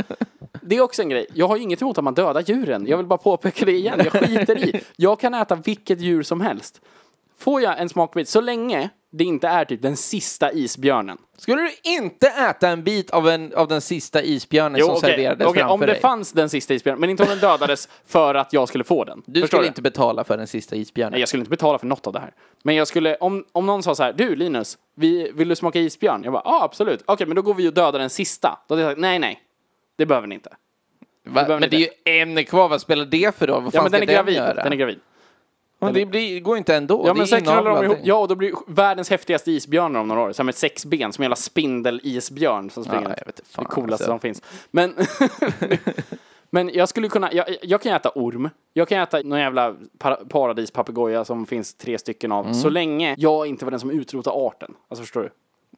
A: det är också en grej. Jag har ju inget emot att man dödar djuren. Jag vill bara påpeka det igen. Jag skiter i. Jag kan äta vilket djur som helst. Får jag en smakbit, så länge det inte är typ den sista isbjörnen.
B: Skulle du inte äta en bit av, en, av den sista isbjörnen som
A: okej,
B: serverades
A: okej,
B: framför
A: om det
B: dig?
A: fanns den sista isbjörnen, men inte om den dödades för att jag skulle få den.
B: Du
A: Förstår
B: skulle inte betala för den sista isbjörnen.
A: Nej, jag skulle inte betala för något av det här. Men jag skulle, om, om någon sa så här, du Linus, vi, vill du smaka isbjörn? Jag bara, ja ah, absolut. Okej, men då går vi och dödar den sista. Då hade jag sagt, nej, nej. Det behöver ni inte.
B: Va?
A: behöver
B: men det
A: inte.
B: är ju en kvar, vad spelar det för roll? Vad fan
A: Ja, men den är
B: ska
A: gravid.
B: göra?
A: Den är gravid.
B: men det blir, går inte ändå.
A: Ja,
B: Det är
A: men sen knullar de
B: inavel
A: ihop.
B: allting.
A: Ja, och då blir världens häftigaste isbjörnar om några år. Så här med sex ben, som en jävla spindel-isbjörn som springer.
B: Ja, jag vet inte fan,
A: det coolaste
B: alltså.
A: som finns. Men, [laughs] men jag skulle kunna, jag, jag kan äta orm. Jag kan äta någon jävla para, paradispapegoja som finns tre stycken
B: Mm.
A: av. Så länge jag inte var den som utrotade arten. Alltså förstår du?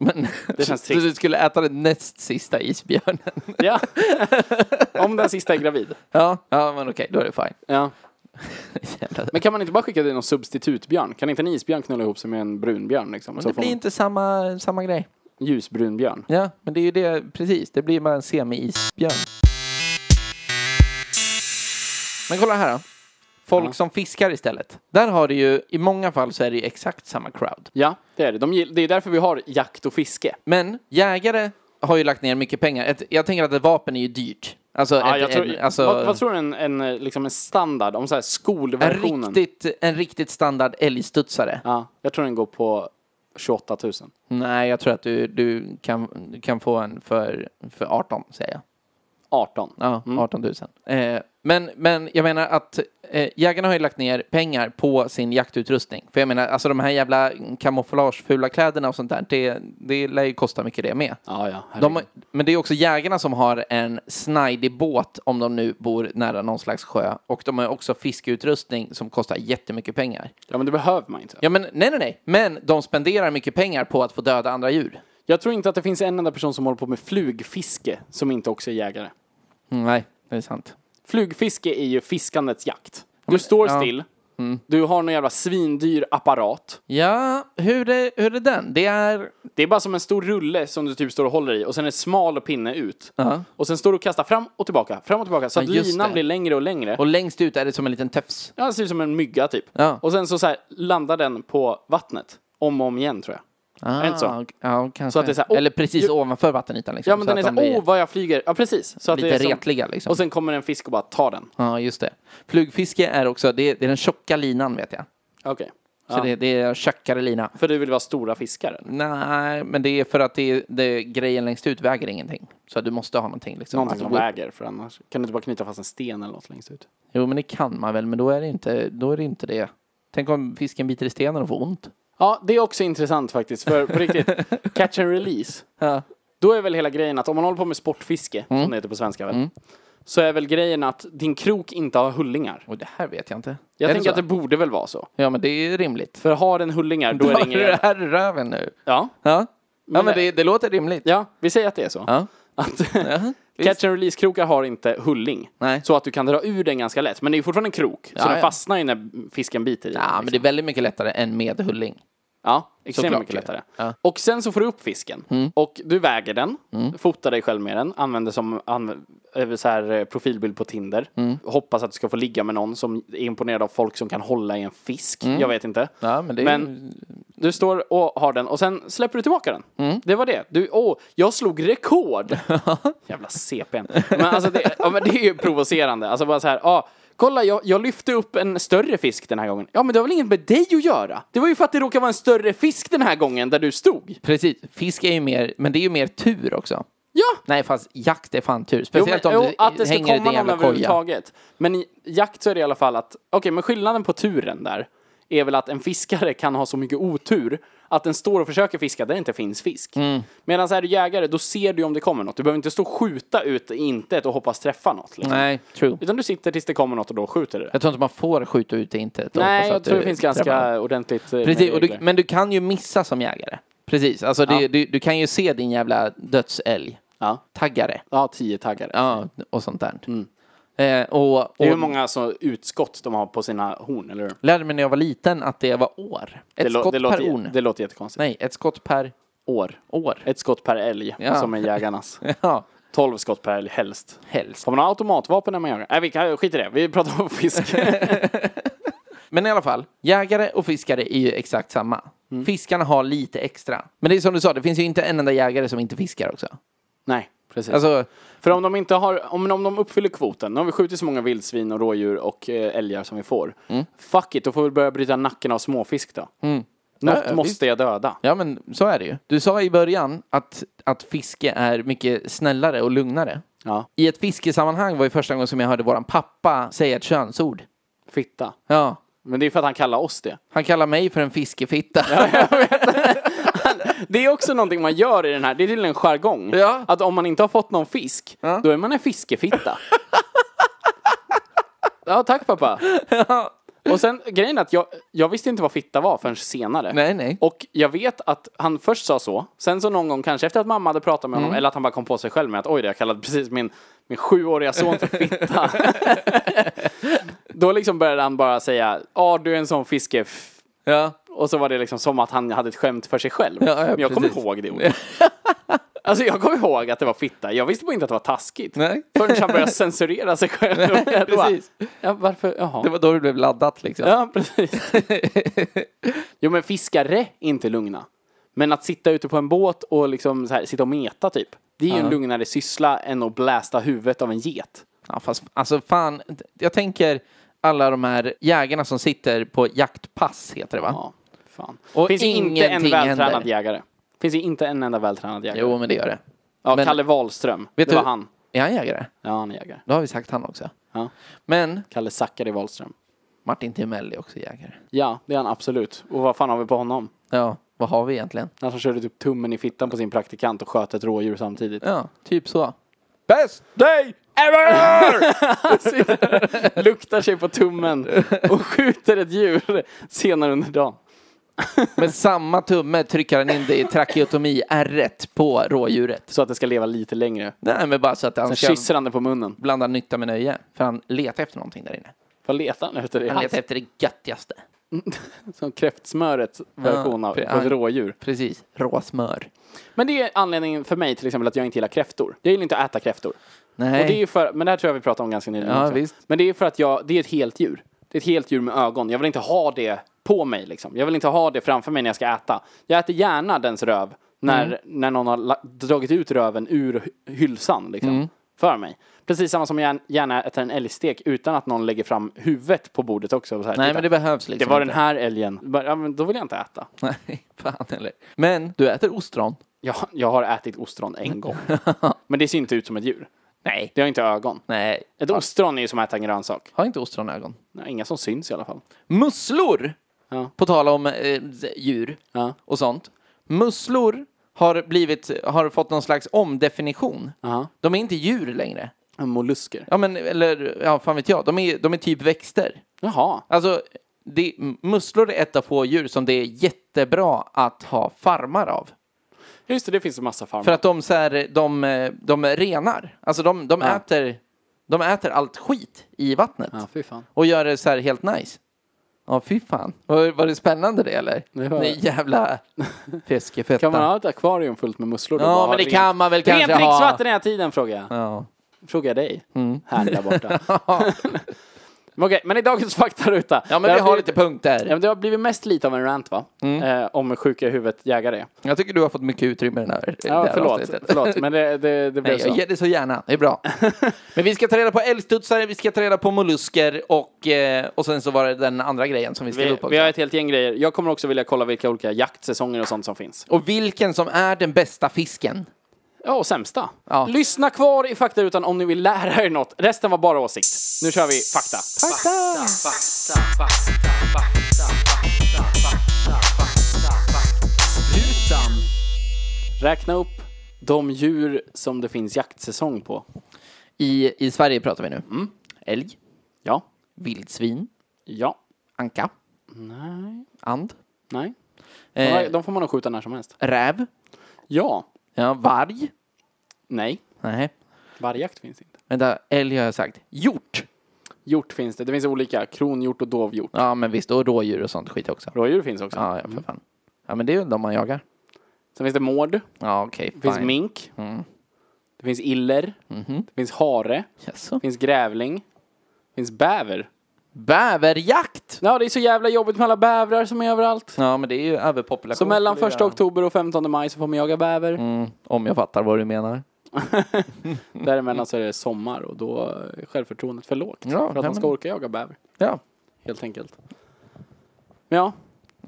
B: [laughs] Men, [laughs]
A: Det känns
B: så
A: trist.
B: du skulle äta den näst sista isbjörnen?
A: Ja. [laughs] Om den sista är gravid.
B: ja, ja, men okej, då är det
A: [laughs]
B: fine.
A: Ja.
B: Jävla-
A: Men kan man inte bara skicka dit någon substitutbjörn? Kan inte en isbjörn knulla ihop sig med en brunbjörn? Liksom?
B: Men
A: så
B: det
A: får
B: blir
A: man
B: inte samma, samma grej.
A: ljusbrunbjörn.
B: Ja, men det är ju det, precis. Det blir bara en semi-isbjörn. Men kolla här då. Folk som fiskar istället. Där har du ju, i många fall så är det ju exakt samma crowd.
A: Ja, det är det. De, gill- det är därför vi har jakt och fiske.
B: Men jägare har ju lagt ner mycket pengar. Ett, jag tänker att ett vapen är ju dyrt. Alltså,
A: Ja,
B: ett,
A: jag tror,
B: en, alltså
A: vad, vad tror du en, en, eh, liksom en standard, om så här
B: en,
A: skolversionen?
B: riktigt, en riktigt standard älgstudsare.
A: Ja, jag tror den går på 28 000.
B: Nej, jag tror att du, du, kan, du kan få en för, för 18, säger jag.
A: 18.
B: Ja, 18 000. Eh, men, men jag menar att eh, jägarna har ju lagt ner pengar på sin jaktutrustning. För jag menar, alltså de här jävla kamouflagefula kläderna och sånt där, det, det lär ju kosta mycket det med.
A: Ja, ja. herregud.
B: De, har- men det är också jägarna som har en snidig båt om de nu bor nära någon slags sjö. Och de har ju också fiskeutrustning som kostar jättemycket pengar.
A: ja, men det behöver man inte.
B: Ja, men nej, nej, nej. Men de spenderar mycket pengar på att få döda andra djur.
A: Jag tror inte att det finns en enda person som håller på med flugfiske som inte också är jägare.
B: Mm, nej, det är sant.
A: Flugfiske är ju fiskandets jakt. Du står
B: ja. Mm.
A: still, du har någon jävla svindyr apparat.
B: Ja, hur är, hur är den? Det är...
A: Det är bara som en stor rulle som du typ står och håller i och sen en smal pinne ut. Och sen står du och kastar fram och tillbaka, fram och tillbaka. Så
B: Ja,
A: att
B: just
A: linan
B: det.
A: blir längre och längre.
B: Och längst ut är det som en liten tefs.
A: Ja, det ser ut som en mygga typ.
B: Ja.
A: Och sen så, så här, landar den på vattnet. Om och om igen tror jag. är det inte så?
B: Ah, Ja, kanske.
A: Så att det är så här, oh,
B: Eller precis
A: ju-
B: ovanför vattenytan. Liksom,
A: Ja men
B: så
A: den är
B: att
A: så
B: de
A: här,
B: blir
A: åh vad jag flyger. Ja precis. Så att det
B: lite
A: är som-
B: retliga liksom.
A: Och sen kommer en fisk och bara tar den.
B: Ja, just det. Flugfiske är också, det är, det är den tjocka linan vet jag.
A: Okej.
B: Så
A: Ja.
B: det, det är tjockare lina.
A: För du vill vara stora fiskare?
B: Nej, men det är för att det, det, grejen längst ut väger ingenting. Så du måste ha någonting. Liksom.
A: Någonting
B: Alltså,
A: som
B: gå-
A: väger för annars kan du inte bara knyta fast en sten eller något längst ut?
B: Jo, men det kan man väl, men då är det inte, då är det, inte det. Tänk om fisken biter i stenen och får ont.
A: Ja, det är också intressant faktiskt. För
B: [laughs]
A: på riktigt, catch and release. Då är väl hela grejen att om man håller på med sportfiske,
B: Mm.
A: som det heter på svenska väl, så är väl grejen att din krok inte har hullingar.
B: Och det här vet jag inte.
A: Jag
B: Är
A: tänker att
B: så?
A: det borde väl vara så.
B: Ja, men det är rimligt.
A: För har den hullingar, då är det
B: Har du
A: ingen...
B: det här i röven nu?
A: Ja,
B: Ja, ja men
A: det-
B: det, det låter rimligt.
A: ja, vi säger att det är så.
B: Ja.
A: Att [laughs]
B: visst.
A: catch and release-krokar har inte hulling.
B: Nej.
A: Så att du kan dra ur den ganska lätt. Men det är ju fortfarande en krok, så
B: Ja,
A: den
B: ja.
A: fastnar ju när fisken biter i den, liksom.
B: Ja, men det är väldigt mycket lättare än med hulling.
A: Ja, extremt
B: Såklart
A: mycket
B: ju.
A: lättare.
B: Ja. Mm.
A: Och sen så får du upp fisken. Och du väger den, fotar dig själv med den, använder som anv- eh, så här, eh, profilbild på Tinder.
B: Mm.
A: Hoppas att du ska få ligga med någon som är imponerad av folk som kan hålla i en fisk. Jag vet inte.
B: Mm. Ja, men det är
A: Men du står och har den och sen släpper du tillbaka den. Det var det. Du, åh, jag slog rekord! Jävla CPN. Men alltså det, ja, men det är ju provocerande. Alltså bara så här, ah, kolla jag, jag lyfte upp en större fisk den här gången. Ja men det har väl inget med dig att göra? Det var ju för att det råkade vara en större fisk den här gången där du stod.
B: Precis, fisk är ju mer, men det är ju mer tur också.
A: Ja!
B: Nej, fast jakt är fan tur.
A: Jo,
B: Speciellt
A: men,
B: om
A: jo,
B: du
A: att det ska
B: hänger i
A: komma
B: din
A: någon
B: jävla koja.
A: överhuvudtaget. Men i jakt så är det i alla fall att, okej men skillnaden på turen där är väl att en fiskare kan ha så mycket otur att den står och försöker fiska där det inte finns fisk.
B: Mm.
A: Medan är du jägare, då ser du om det kommer något. Du behöver inte stå och skjuta ut i intet och hoppas träffa något. Liksom.
B: Nej, true.
A: Utan du sitter tills det kommer något och då skjuter du det.
B: Jag tror inte man får skjuta ut det inte.
A: Nej, jag tror det finns ganska ordentligt eh,
B: Precis,
A: med
B: och du,
A: regler.
B: men du kan ju missa som jägare. Precis, alltså det, du, du kan ju se din jävla dödsälg.
A: Ja.
B: Taggare.
A: ja, tio taggare.
B: Ja, och sånt där. Eh, och, och
A: Det är Mm. hur många så, utskott de har på sina horn, eller hur?
B: lärde mig när jag var liten att det var år. Ett
A: Det, lå-
B: skott
A: det, låter,
B: per orn.
A: det låter jättekonstigt.
B: Nej, ett skott per
A: År.
B: år.
A: Ett skott per älg,
B: Ja.
A: som
B: [laughs]
A: är jägarnas.
B: Ja,
A: 12 skott per älg, helst.
B: helst.
A: Får man ha automatvapen när man jagar? Nej, vi kan, skit i det. Vi pratar
B: [laughs]
A: om fisk.
B: Men i alla fall, jägare och fiskare är ju exakt samma. Fiskarna har lite extra. Men det är som du sa, det finns ju inte en enda jägare som inte fiskar också.
A: Nej, precis.
B: Alltså,
A: För om de inte har, om, om de uppfyller kvoten, nu har vi skjutit så många vildsvin och rådjur och eh, älgar som vi får.
B: Mm.
A: Fuck it, då får vi börja bryta nacken av småfisk då. Något
B: Ja, ja,
A: måste
B: visst.
A: jag döda.
B: ja men så är det ju. Du sa i början att, att fiske är mycket snällare och lugnare.
A: Ja,
B: I ett fiskesammanhang var ju första gången som jag hörde våran pappa säga ett könsord.
A: fitta.
B: Ja,
A: Men det är för att han kallar oss det.
B: han kallar mig för en fiskefitta.
A: Det är också någonting man gör i den här, det är tydligen en jargong.
B: Ja.
A: Att om man inte har fått någon fisk, då är man en fiskefitta. ja, tack pappa. Och sen grejen är att jag, jag visste inte vad fitta var förrän
B: [laughs]
A: senare.
B: Nej, nej.
A: Och jag vet att han först sa så, sen så någon gång kanske efter att mamma hade pratat med
B: Mm.
A: honom, eller att han bara kom på sig själv med att oj, det har kallat precis min, min sjuåriga son
B: [laughs]
A: för fitta. Då liksom började han bara säga, ja du är en sån fiske...
B: Ja.
A: Och så var det liksom som att han hade ett skämt för sig själv.
B: ja,
A: Men jag kommer
B: precis.
A: ihåg
B: [laughs]
A: det ordet. Alltså jag kommer ihåg att det var fitta. Jag visste bara inte att det var taskigt.
B: Nej.
A: Förrän
B: [laughs]
A: han började censurera sig själv. [laughs]
B: Nej,
A: Då bara,
B: precis.
A: Ja, varför? Jaha.
B: Det var då du blev laddat liksom.
A: Ja, precis. jo, men fiskare är inte lugna. Men att sitta ute på en båt och liksom så här, sitta och meta typ. Det är ju en lugnare syssla än att blästa huvudet av en get.
B: Ja, fast alltså fan, jag tänker alla de här jägarna som sitter på jaktpass, heter det va?
A: Ja, fan.
B: Och
A: Finns ju inte en
B: ingenting
A: vältränad
B: händer.
A: jägare. Finns ju inte en enda vältränad jägare.
B: Jo, men det gör det.
A: ja,
B: men-
A: Kalle Wahlström.
B: Vet du-
A: det var han.
B: Är han jägare?
A: Ja, han är jägare.
B: Då har vi sagt han också.
A: Ja.
B: Men
A: Kalle Zackari Wahlström.
B: Martin Timell är också jägare.
A: Ja, det är han absolut. Och vad fan har vi på honom?
B: Ja, vad har vi egentligen?
A: Han som körde typ tummen i fittan på sin praktikant och sköt ett rådjur samtidigt.
B: Ja, typ så.
C: Best day ever!
A: [laughs] Luktar sig på tummen och skjuter ett djur senare under dagen.
B: [laughs] Med samma tumme trycker han in det i trakeotomi R1 på rådjuret.
A: Så att det ska leva lite längre.
B: Nej, men bara så att han
A: Sen
B: ska
A: kysser han det på munnen.
B: blanda nytta med nöje. För han letar efter någonting där inne.
A: Vad letar han efter? Det?
B: Han letar efter det göttigaste.
A: Som kräftsmörets version
B: Ja,
A: av
B: för-
A: av ett rådjur.
B: Precis, råsmör.
A: Men det är anledningen för mig till exempel att jag inte gillar kräftor. Jag gillar inte att äta kräftor.
B: Nej.
A: Och det är ju för, men det här tror jag vi pratade om ganska nyligen
B: Ja,
A: också.
B: visst.
A: Men det är för att jag, det är ett helt djur. Det är ett helt djur med ögon. Jag vill inte ha det på mig liksom. Jag vill inte ha det framför mig när jag ska äta. Jag äter gärna dens röv när,
B: Mm.
A: när någon har la- dragit ut röven ur hy- hylsan liksom.
B: Mm.
A: För mig. Precis samma som jag gär- gärna äter en älgstek utan att någon lägger fram huvudet på bordet också. och Så här,
B: Nej,
A: titta.
B: men det behövs liksom
A: det var den
B: inte.
A: här älgen. Bara, Ja, men då vill jag inte äta.
B: [laughs] Nej, fan eller. Men du äter ostron?
A: Jag, jag har ätit ostron en gång. Men det ser inte ut som ett djur.
B: Nej.
A: Det har inte ögon.
B: Nej.
A: Ett ostron är ju som att äta en grönsak.
B: Har inte ostron ögon?
A: Nej, Inga som syns i alla fall.
B: Musslor!
A: Ja.
B: På tal om eh, djur
A: Ja.
B: och sånt. Musslor har, blivit, har fått någon slags omdefinition.
A: Aha.
B: De är inte djur längre.
A: Mollusker.
B: Ja, men eller ja, fan vet jag. De är, de är typ växter.
A: Jaha.
B: Alltså, det, musslor är ett av få djur som det är jättebra att ha farmar av.
A: Just det, det finns en massa farmar.
B: För att de, så här, de, eh, de renar. Alltså de, de,
A: Ja.
B: äter, de äter allt skit i vattnet.
A: Ja, fy fan.
B: Och gör det så här helt nice. Ja, fy fan. Var, var det spännande det eller?
A: Det var-
B: Nej, jävla
A: [laughs]
B: fiskefetta.
A: Kan man ha ett akvarium fullt med musslor?
B: Ja, men det kan man väl kanske
A: Rent
B: ha.
A: dricksvatten i den här tiden, frågar jag.
B: Ja. Mm.
A: Frågar jag dig. Här
B: [laughs]
A: där borta. men [laughs] okej, men i dagens faktaruta.
B: ja,
A: Det
B: men vi har
A: blivit-
B: lite Mm.
A: Ja,
B: punkter.
A: men det har blivit mest lite av en rant, va? Eh, om sjuka i huvudet jägare.
B: Jag tycker du har fått mycket utrymme i den här. det
A: Ja,
B: här
A: förlåt.
B: avsnittet.
A: förlåt. Men
B: [laughs]
A: det, det, det blev
B: Nej,
A: så.
B: jag ger det så gärna. Det är
A: [laughs]
B: bra. Men vi ska ta reda på älgstudsare, vi ska ta reda på mollusker och, eh, och sen så var det den andra grejen som vi skrev
A: Vi,
B: upp också.
A: vi har ett helt gäng grejer. Jag kommer också vilja kolla vilka olika jaktsäsonger och sånt som finns.
B: Och vilken som är den bästa fisken.
A: Ja, och sämsta.
B: Ja.
A: Lyssna kvar i faktarutan om ni vill lära er något. Resten var bara åsikt. Nu kör vi fakta. Räkna upp de djur som det finns jaktsäsong på.
B: I, I Sverige pratar vi nu. Älg,
A: Ja.
B: vildsvin,
A: Ja.
B: anka,
A: Nej.
B: and,
A: Nej.
B: eh,
A: De får man nog skjuta när som helst.
B: räv,
A: Ja.
B: ja, varg.
A: Nej.
B: Nej,
A: Vargjakt finns inte.
B: vänta, älg har jag sagt. Hjort!
A: Hjort finns det. Det finns olika. Kronhjort och dovhjort.
B: Ja, men visst, och rådjur och sånt skit också.
A: Rådjur finns också.
B: Ja, ja, för fan. Ja, men det är ju de man jagar.
A: Sen finns det mård.
B: Ja, okej,
A: Det finns
B: fine. Mm. Mhm.
A: mink. Det finns iller. Det finns hare.
B: Jaså.
A: Det finns grävling. Det finns bäver.
B: Bäverjakt!
A: Ja, det är så jävla jobbigt med alla bävrar som är överallt.
B: Ja, men det är ju överpopulation.
A: Så mellan
B: skulle
A: 1
B: jag-
A: oktober och 15 maj så får man jaga bäver.
B: Mm, om jag fattar vad du menar.
A: Däremellan så är det sommar och då är självförtroendet för lågt.
B: Ja,
A: för att
B: nej,
A: man ska
B: men-
A: orka jaga bäver,
B: Ja.
A: helt enkelt. Men ja,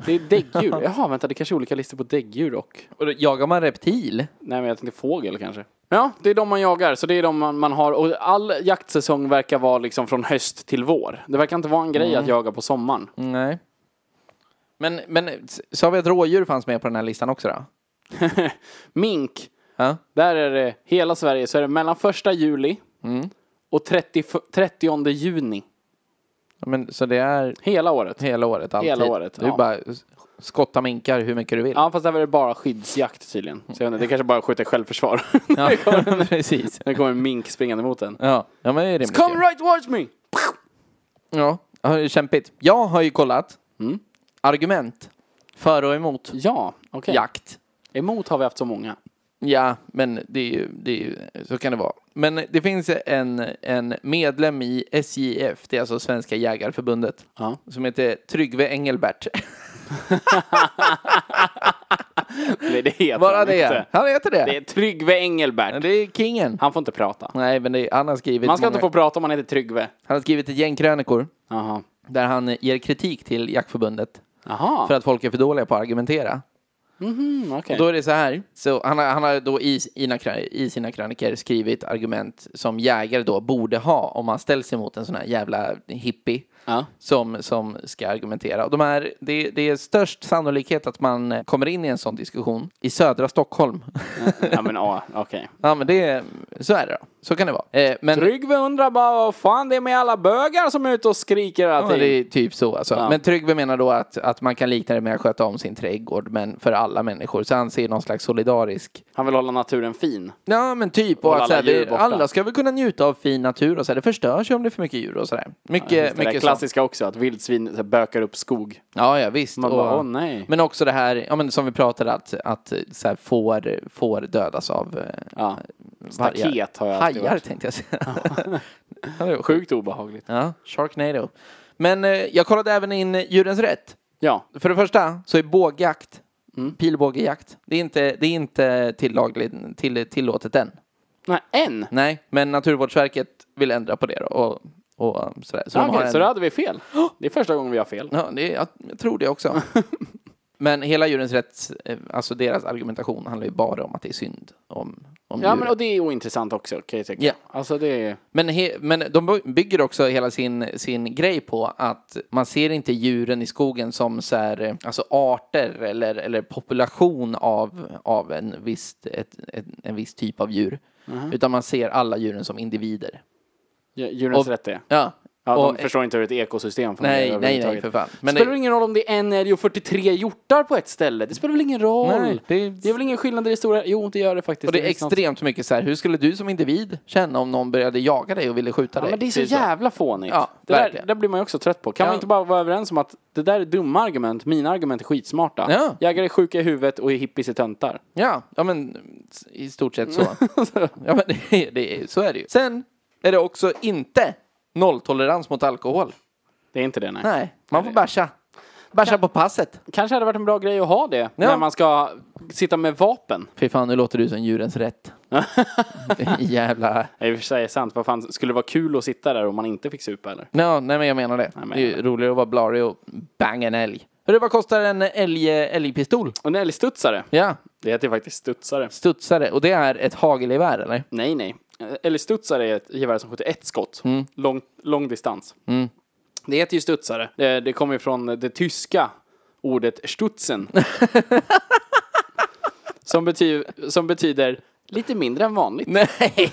A: det är
B: [laughs]
A: däggdjur. Jaha, vänta, det kanske är olika listor på däggdjur och...
B: Och då jagar man reptil?
A: Nej, men jag tänkte fågel kanske. Men Ja, det är de man jagar, så det är de man, man har. Och all jaktsäsong verkar vara liksom från höst till vår. Det verkar inte vara en grej
B: Mm.
A: att jaga på sommaren.
B: Nej. Men, men sa vi att rådjur fanns med på den här listan också då?
A: Mink,
B: Ja.
A: Där är det hela Sverige, så är det mellan första juli
B: Mm.
A: och 30, 30 juni.
B: Men, så det är
A: Hela året.
B: hela året? Alltid.
A: Hela året,
B: Du
A: ja.
B: bara s- skotta minkar hur mycket du vill.
A: Ja, fast där är det bara skyddsjakt tydligen. Så jag vet inte, det kanske bara skjuter självförsvar.
B: [laughs]
A: [laughs]
B: Ja, [laughs] precis.
A: det kommer en mink springande mot en.
B: Ja, ja men det är rimligt.
A: Come
B: ju.
A: right towards me!
B: Ja, ja, det är kämpigt. Jag har ju kollat argument för och emot
A: Mm. Ja, okej.
B: jakt.
A: Emot har vi haft så många.
B: Ja, men det är ju, det är ju så kan det vara. Men det finns en, en medlem i SJF, det är alltså Svenska [laughs] Jägarförbundet,
A: Ja.
B: [laughs] som heter Tryggve Engelbert.
A: Nej, det heter
B: Bara
A: han
B: det.
A: inte.
B: Han heter det.
A: Det är Tryggve Engelbert.
B: Det är kingen.
A: Han får inte prata.
B: Nej, men det, han har skrivit
A: Man ska inte
B: många-
A: få prata om man heter Tryggve.
B: Han har skrivit ett gäng krönikor
A: Jaha.
B: där han ger kritik till jaktförbundet
A: Jaha,
B: för att folk är för dåliga på att argumentera.
A: mm, okej.
B: Då är det så här. Så han, har, han har då i, sina krö- i sina kröniker skrivit argument som jägare då borde ha om man ställs emot en sån här jävla hippie.
A: Ja.
B: Som, som ska argumentera. Och de här, det, det är störst sannolikhet att man kommer in i en sån diskussion i södra Stockholm.
A: Ja, men ja, okej.
B: ja, men det, så är det då. Så kan det vara. Eh, men
A: Tryggve undrar bara vad fan det är med alla bögar som är ute och skriker hela
B: Ja,
A: tiden.
B: det är typ så alltså. Men Tryggve menar då att, att man kan likna det med att sköta om sin trädgård, men för alla människor. Så han ser någon slags solidarisk...
A: Han vill hålla naturen fin.
B: Ja, men typ. Och
A: Hålla
B: att, så här,
A: alla djur
B: vi,
A: borta.
B: alla ska väl kunna njuta av fin natur och så här, Det förstörs ju om det är för mycket djur och sådär. Mycket,
A: Just det där
B: mycket sånt.
A: klassiska också, att vildsvin så här, bökar upp skog.
B: Ja, ja, visst.
A: Man bara, åh nej.
B: Men också det här, ja, men som vi pratade, att, att så här, får, får dödas av eh,
A: Ja.
B: vargar.
A: Staket har jag alltid
B: Hajar
A: varit.
B: tänkte jag säga. [laughs] Ja, det var sjukt.
A: Sjukt obehagligt.
B: Ja, Sharknado. Men eh, jag kollade även in Djurens Rätt.
A: Ja,
B: För det första så är bågjakt,
A: Mm.
B: pilbågejakt, det är inte, det är inte tillagligt, till, tillåtet än.
A: nej, en.
B: Nej, men Naturvårdsverket vill ändra på det då, och, och sådär. Så
A: Så,
B: de har en-
A: så då hade vi fel. Det är första gången vi har fel.
B: Ja, det, jag, jag tror det
A: [laughs]
B: också. men hela djurens rätt, eh, alltså deras argumentation handlar ju bara om att det är synd om, om
A: Ja,
B: djuren.
A: men och det är ointressant också kan jag tycka.
B: Ja.
A: Alltså det är...
B: Men, he, men de bygger också hela sin, sin grej på att man ser inte djuren i skogen som så här, eh, alltså arter eller, eller population av, av en, viss, ett, ett, en viss typ av djur.
A: Mm-hmm.
B: Utan man ser alla djuren som individer.
A: dj- Djurens
B: Och-
A: rätt är.
B: Ja.
A: Ja,
B: och,
A: de förstår inte hur ett ekosystem fungerar
B: nej, nej, nej,
A: överhuvudtaget.
B: för fan. Men
A: Men spelar det... ingen roll om det är en älg och 43 hjortar på ett ställe? Det spelar väl ingen roll?
B: Nej, det
A: det...
B: är-
A: är väl ingen skillnad i det stora? Jo, det gör det liksom- faktiskt.
B: och det är
A: visst något.
B: extremt mycket så här, hur skulle du som individ känna om någon började jaga dig och ville skjuta
A: Ja,
B: dig?
A: men det är så jävla fånigt.
B: Ja,
A: det där,
B: verkligen.
A: där blir man ju också trött på. Kan
B: Ja.
A: man inte bara vara överens om att det där är dumma argument, mina argument är skitsmarta.
B: Ja.
A: Jägare är sjuka i huvudet och hippies är töntar.
B: Ja, ja men i stort sett så. [laughs] ja, men det, är- det, är- så är det ju. Sen är det också inte nolltolerans mot alkohol.
A: Det är inte det, nej.
B: Nej, man får bärsa. Bärsa på passet.
A: Kanske hade det varit en bra grej att ha det när man ska sitta med vapen.
B: Fy fan, nu låter du som djurens rätt. Jävla...
A: Det är i och för sig sant. Vad fan, skulle det vara kul att sitta där om man inte fick supa eller?
B: No, nej, men jag menar det.
A: men-
B: det är ju roligare att vara blarig och banga en älg. Hörru, vad kostar en älg, älgpistol?
A: Och en älgstudsare.
B: Ja,
A: Det heter ju faktiskt studsare.
B: studsare. Och det är ett hagelgevär, eller?
A: Nej, nej. Älgstudsare är ett gevär som skjuter ett skott. Lång, lång distans. Det heter ju studsare. Det, det kommer ju från det tyska ordet stutzen. som, bety, som betyder lite mindre än vanligt.
B: Nej! [laughs]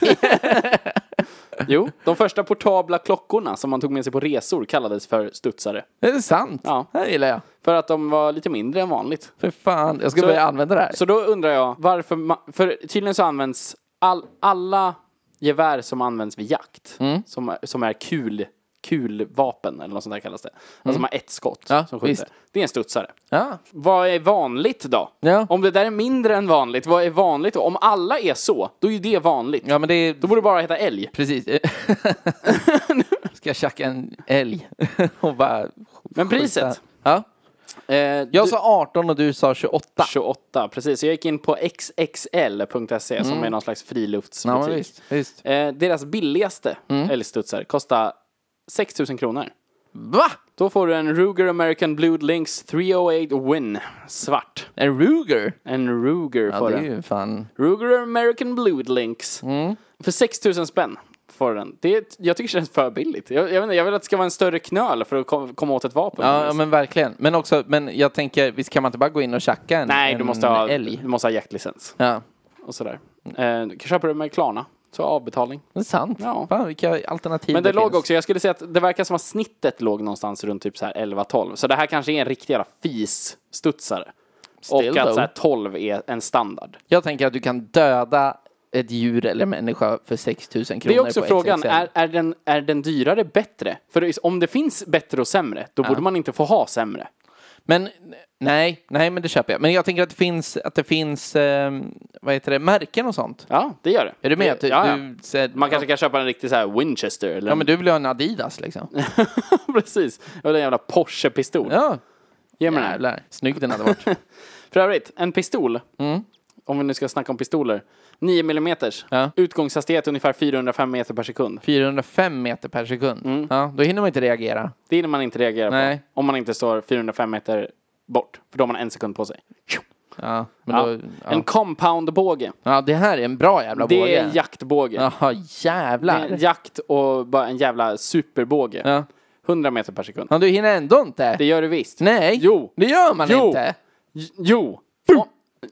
A: Jo, de första portabla klockorna som man tog med sig på resor kallades för studsare.
B: Det är sant.
A: Ja.
B: Det här gillar jag.
A: För att de var lite mindre än vanligt.
B: För fan, jag ska
A: Så-
B: börja använda det här.
A: Så då undrar jag varför man, för tydligen så används all, alla gevär som används vid jakt,
B: Mm.
A: som, är- som är kul, kulvapen eller något sånt där kallas det. Alltså som har ett skott
B: Mm. Ja,
A: som skjuter.
B: visst.
A: Det är en studsare.
B: Ja.
A: Vad är vanligt då?
B: Ja.
A: Om det där är mindre än vanligt, vad är vanligt då? Om alla är så, då är ju det vanligt.
B: ja, men det är...
A: Då borde det bara heta älg.
B: [laughs] Precis. Ska jag tjacka en älg [laughs] och bara...
A: Men priset?
B: Ja.
A: Eh,
B: Jag
A: du-
B: sa 18 och du sa 28.
A: 28, precis. Jag gick in på xxl.se E, som är någon slags
B: Mm. Ja,
A: friluftsbutik.
B: men visst, visst.
A: Eh, deras billigaste
B: Mm.
A: älgstudsar kostar 6 000 kronor.
B: Va?
A: Då får du en Ruger American Blue Lynx 308 Win. Svart.
B: En Ruger?
A: En Ruger
B: Ja,
A: får
B: det är
A: du.
B: ju Mm. fan...
A: Ruger American Blue Lynx. För 6 000 spänn får du den. Det är, ett- jag tycker det känns för billigt. Jag, jag, vet inte, jag vill att det ska vara en större knöl för att kom, komma åt ett vapen.
B: Ja, ja, men verkligen. Men också, men jag tänker, visst kan man inte bara gå in och tjacka en,
A: Nej,
B: en
A: du måste, ha,
B: älg?
A: du måste ha jaktlicens
B: Ja,
A: och sådär. Eh, du kan köpa det med Klarna. Så avbetalning.
B: det är sant.
A: Ja.
B: Fan, vilka alternativ
A: Men det, låg
B: finns.
A: också, jag skulle säga att det verkar som att snittet låg någonstans runt typ så här 11-12. Så det här kanske är en riktig jävla fis-studsare. Och
B: though.
A: att så här 12 är en standard.
B: Jag tänker att du kan döda ett djur eller människa för 6 000 kronor
A: Det är också
B: på
A: frågan,
B: XXL.
A: är, är, den, är den dyrare bättre? För om det finns bättre och sämre, då borde man inte få ha sämre.
B: Men nej, nej, men det köper jag. Men jag tänker att det finns, att det finns ehm, vad heter det, märken och sånt.
A: Ja, det gör det.
B: Är du med? Att Du,
A: ja, ja.
B: du, säger-
A: Man kanske kan köpa en riktig så här Winchester [laughs] eller
B: Ja, men du vill ha en Adidas liksom.
A: precis. Eller en jävla Porsche-pistol.
B: Ja.
A: Ge mig den här.
B: Jävlar, snygg den hade varit. [laughs]
A: För övrigt, en pistol.
B: Mm.
A: Om vi nu ska snacka om pistoler. 9 mm.
B: Ja.
A: Utgångshastighet ungefär 405 meter per sekund.
B: 405 meter per sekund. Ja, då hinner man inte reagera.
A: Det hinner man inte reagera
B: Nej.
A: på. Om man inte står 405 meter bort. För då har man en sekund på sig.
B: Ja, men
A: Ja.
B: Då, ja.
A: En compoundbåge.
B: ja, det här är en bra jävla båge.
A: Det är en jaktbåge.
B: Jaha,
A: Det
B: jävlar.
A: är en jakt och bara en jävla superbåge.
B: Ja.
A: 100 meter per sekund.
B: Ja, du hinner ändå inte.
A: Det gör du visst.
B: Nej,
A: Jo.
B: det gör man
A: Jo.
B: inte.
A: J- Jo. Ja.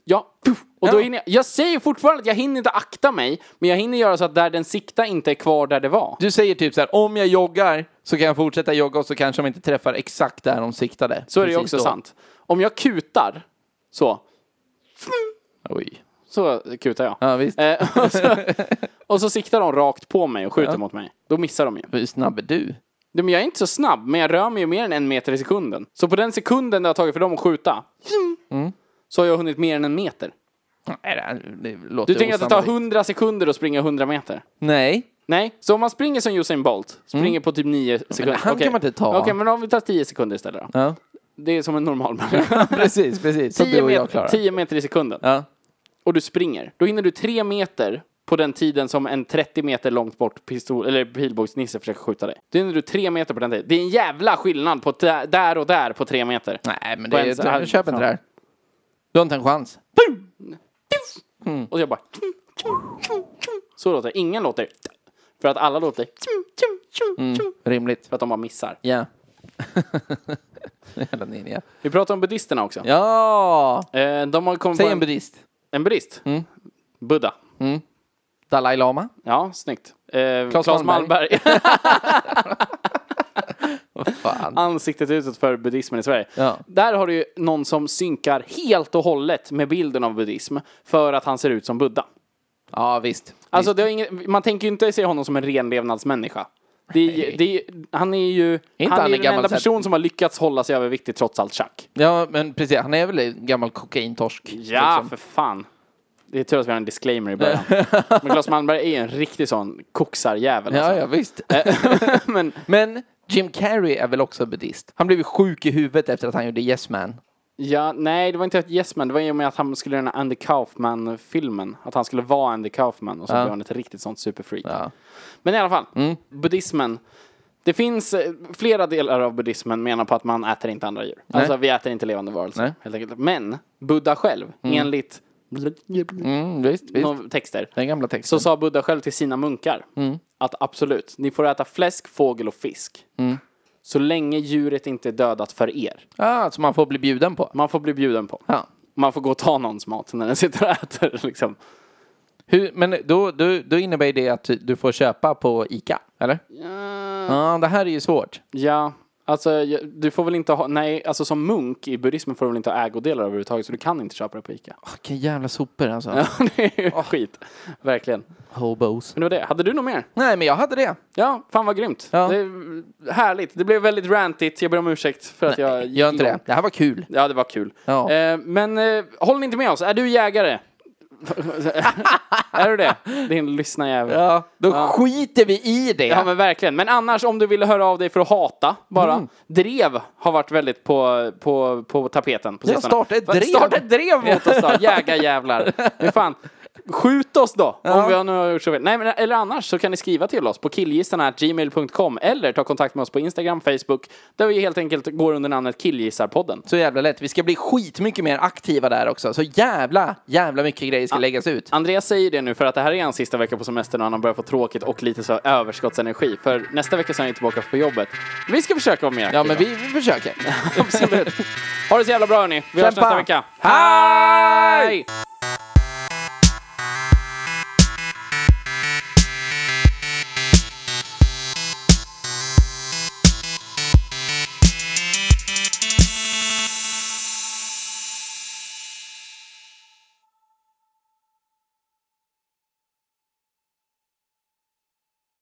A: Ja. Och då
B: Ja.
A: hinner jag, jag säger fortfarande att jag hinner inte akta mig, men jag hinner göra så att där den siktar inte är kvar där det var.
B: Du säger typ så här, om jag joggar så kan jag fortsätta jogga och så kanske de inte träffar exakt där de siktade.
A: Så är det ju
B: Precis
A: också
B: då.
A: sant. Om jag kutar, så,
B: Oj.
A: så kutar jag.
B: Ja, visst.
A: Eh, [laughs]
B: [laughs]
A: och, så, och så siktar de rakt på mig och skjuter mot mig. Då missar de ju.
B: Hur snabb är du?
A: Nej, Men jag är inte så snabb, men jag rör mig ju mer än en meter i sekunden. Så på den sekunden det har tagit för dem att skjuta,
B: Mm.
A: så har jag hunnit mer än en meter.
B: Nej, det, här- det låter
A: Du tänker att det tar
B: osannolikt.
A: 100 sekunder att springa 100 meter?
B: Nej.
A: Nej, så om man springer som Usain Bolt, springer på typ 9 sekunder.
B: Mm. han
A: Okej.
B: kan man inte ta.
A: Okej, men om vi tar 10 sekunder istället då.
B: Ja.
A: Det är som en normal [laughs] människa.
B: Precis, precis. [laughs] Så
A: 10
B: du och jag
A: meter,
B: klarar.
A: 10 meter i sekunden.
B: Ja.
A: Och du springer. Då hinner du 3 meter på den tiden som en 30 meter långt bort pistol, eller pilbågsnisse försöker skjuta dig. Då hinner du 3 meter på den tiden. Det är en jävla skillnad på där där och där på 3 meter.
B: Nej, men
A: På
B: det
A: en-
B: är... Jag köper inte det här. Du har inte en chans.
A: Mm. Och jag bara... Så låter det. Ingen låter... För att alla låter...
B: Rimligt.
A: För att de bara missar.
B: Ja. [laughs] Jävla ninja.
A: Vi pratar om buddhisterna också.
B: Ja!
A: Eh, De har kommit
B: Säg
A: på
B: en buddhist. Mm.
A: En buddhist? Buddha.
B: Dalai Lama.
A: Ja, snyggt. Eh,
B: Claes
A: Claes Malmberg.
B: Fan.
A: Ansiktet utåt för buddhismen i Sverige.
B: Ja.
A: Där har du ju någon som synkar helt och hållet med bilden av buddhism för att han ser ut som Buddha.
B: Ja, visst.
A: Alltså, det har ingen, man tänker ju inte se honom som en renlevnadsmänniska. Det är, ju- det är, ju- han är ju,
B: inte
A: han
B: han
A: är ju
B: en
A: den
B: gammal
A: enda
B: så här-
A: person som har lyckats hålla sig överviktig trots allt tjack.
B: Ja, men precis. Han är väl en gammal kokaintorsk.
A: Ja,
B: liksom.
A: för fan. Det är tur att vi har en disclaimer
B: [laughs]
A: i början. Men Claes Malmberg är ju en riktig sån koksarjävel.
B: ja,
A: alltså.
B: ja visst. [laughs] Eh,
A: Men
B: Men Jim Carrey är väl också buddhist? Han blev ju sjuk i huvudet efter att han gjorde Yes Man.
A: Ja, nej, det var inte ett yes man. Det var i och med att han skulle göra den här Andy Kaufman-filmen. Att han skulle vara Andy Kaufman och så blev han ett riktigt sånt superfreak.
B: Ja. Mm.
A: Men i alla fall, buddhismen. Det finns eh, flera delar av buddhismen menar på att man äter inte andra djur. Alltså vi äter inte levande varelser.
B: Nej.
A: Helt enkelt. Men Buddha själv, enligt
B: Mm, visst, visst.
A: några texter,
B: Den gamla texten.
A: så sa Buddha själv till sina munkar
B: Mm.
A: att absolut, ni får äta fläsk, fågel och fisk.
B: Mm.
A: Så länge djuret inte är dödat för er.
B: ah, som man får bli bjuden på.
A: Man får bli bjuden på.
B: Ja.
A: Man får gå och ta någons mat när den sitter och äter. [laughs] Liksom.
B: Hur, men då, då, då innebär ju det att du får köpa på ICA, eller? Ja, det här är ju svårt.
A: Ja, alltså jag- du får väl inte ha, nej, alltså som munk i buddhismen får du väl inte ha ägodelar överhuvudtaget så du kan inte köpa det på Ica. [laughs]
B: Vilken jävla sopor alltså.
A: det är ju skit. Verkligen.
B: Hobos.
A: Men det var det. Hade du något mer?
B: Nej, men jag hade det.
A: Ja, fan vad grymt.
B: Ja.
A: Det är härligt. Det blev väldigt rantigt. Jag ber om ursäkt för att jag gick
B: Gör inte det.
A: igång.
B: Det här var kul.
A: Ja, det var kul.
B: Ja.
A: Eh, men eh, håll inte med oss. Är du jägare? [laughs] är du det? Din lyssnarjävel.
B: Ja, då skiter vi i det.
A: Ja men verkligen. Men annars om du ville höra av dig för att hata bara.
B: Mm.
A: Drev har varit väldigt på, på, på tapeten på
B: Ja,
A: sistone.
B: starta ett
A: Va,
B: drev.
A: Starta ett drev
B: [laughs]
A: mot oss då, jägarjävlar. Men fan, skjut oss då. Om vi har- nu har gjort så fel. Nej men eller annars så kan ni skriva till oss på killgissarna.gmail.com eller ta kontakt med oss på Instagram, Facebook. Där vi helt enkelt går under namnet Killgissarpodden.
B: Så jävla lätt. Vi ska bli skitmycket mer aktiva där också. Så jävla, jävla mycket grejer ska läggas ut.
A: Andreas säger det nu för att det här är hans sista vecka på semestern och han har börjat få tråkigt och lite så överskottsenergi. För nästa vecka så är han ju tillbaka på jobbet. Vi ska försöka vara mer
B: Ja,
A: aktiva.
B: men vi, [laughs] vi försöker.
A: Absolut. Ha det så jävla bra hörni. Vi hörs
B: Kämpa.
A: nästa vecka.
B: Hej!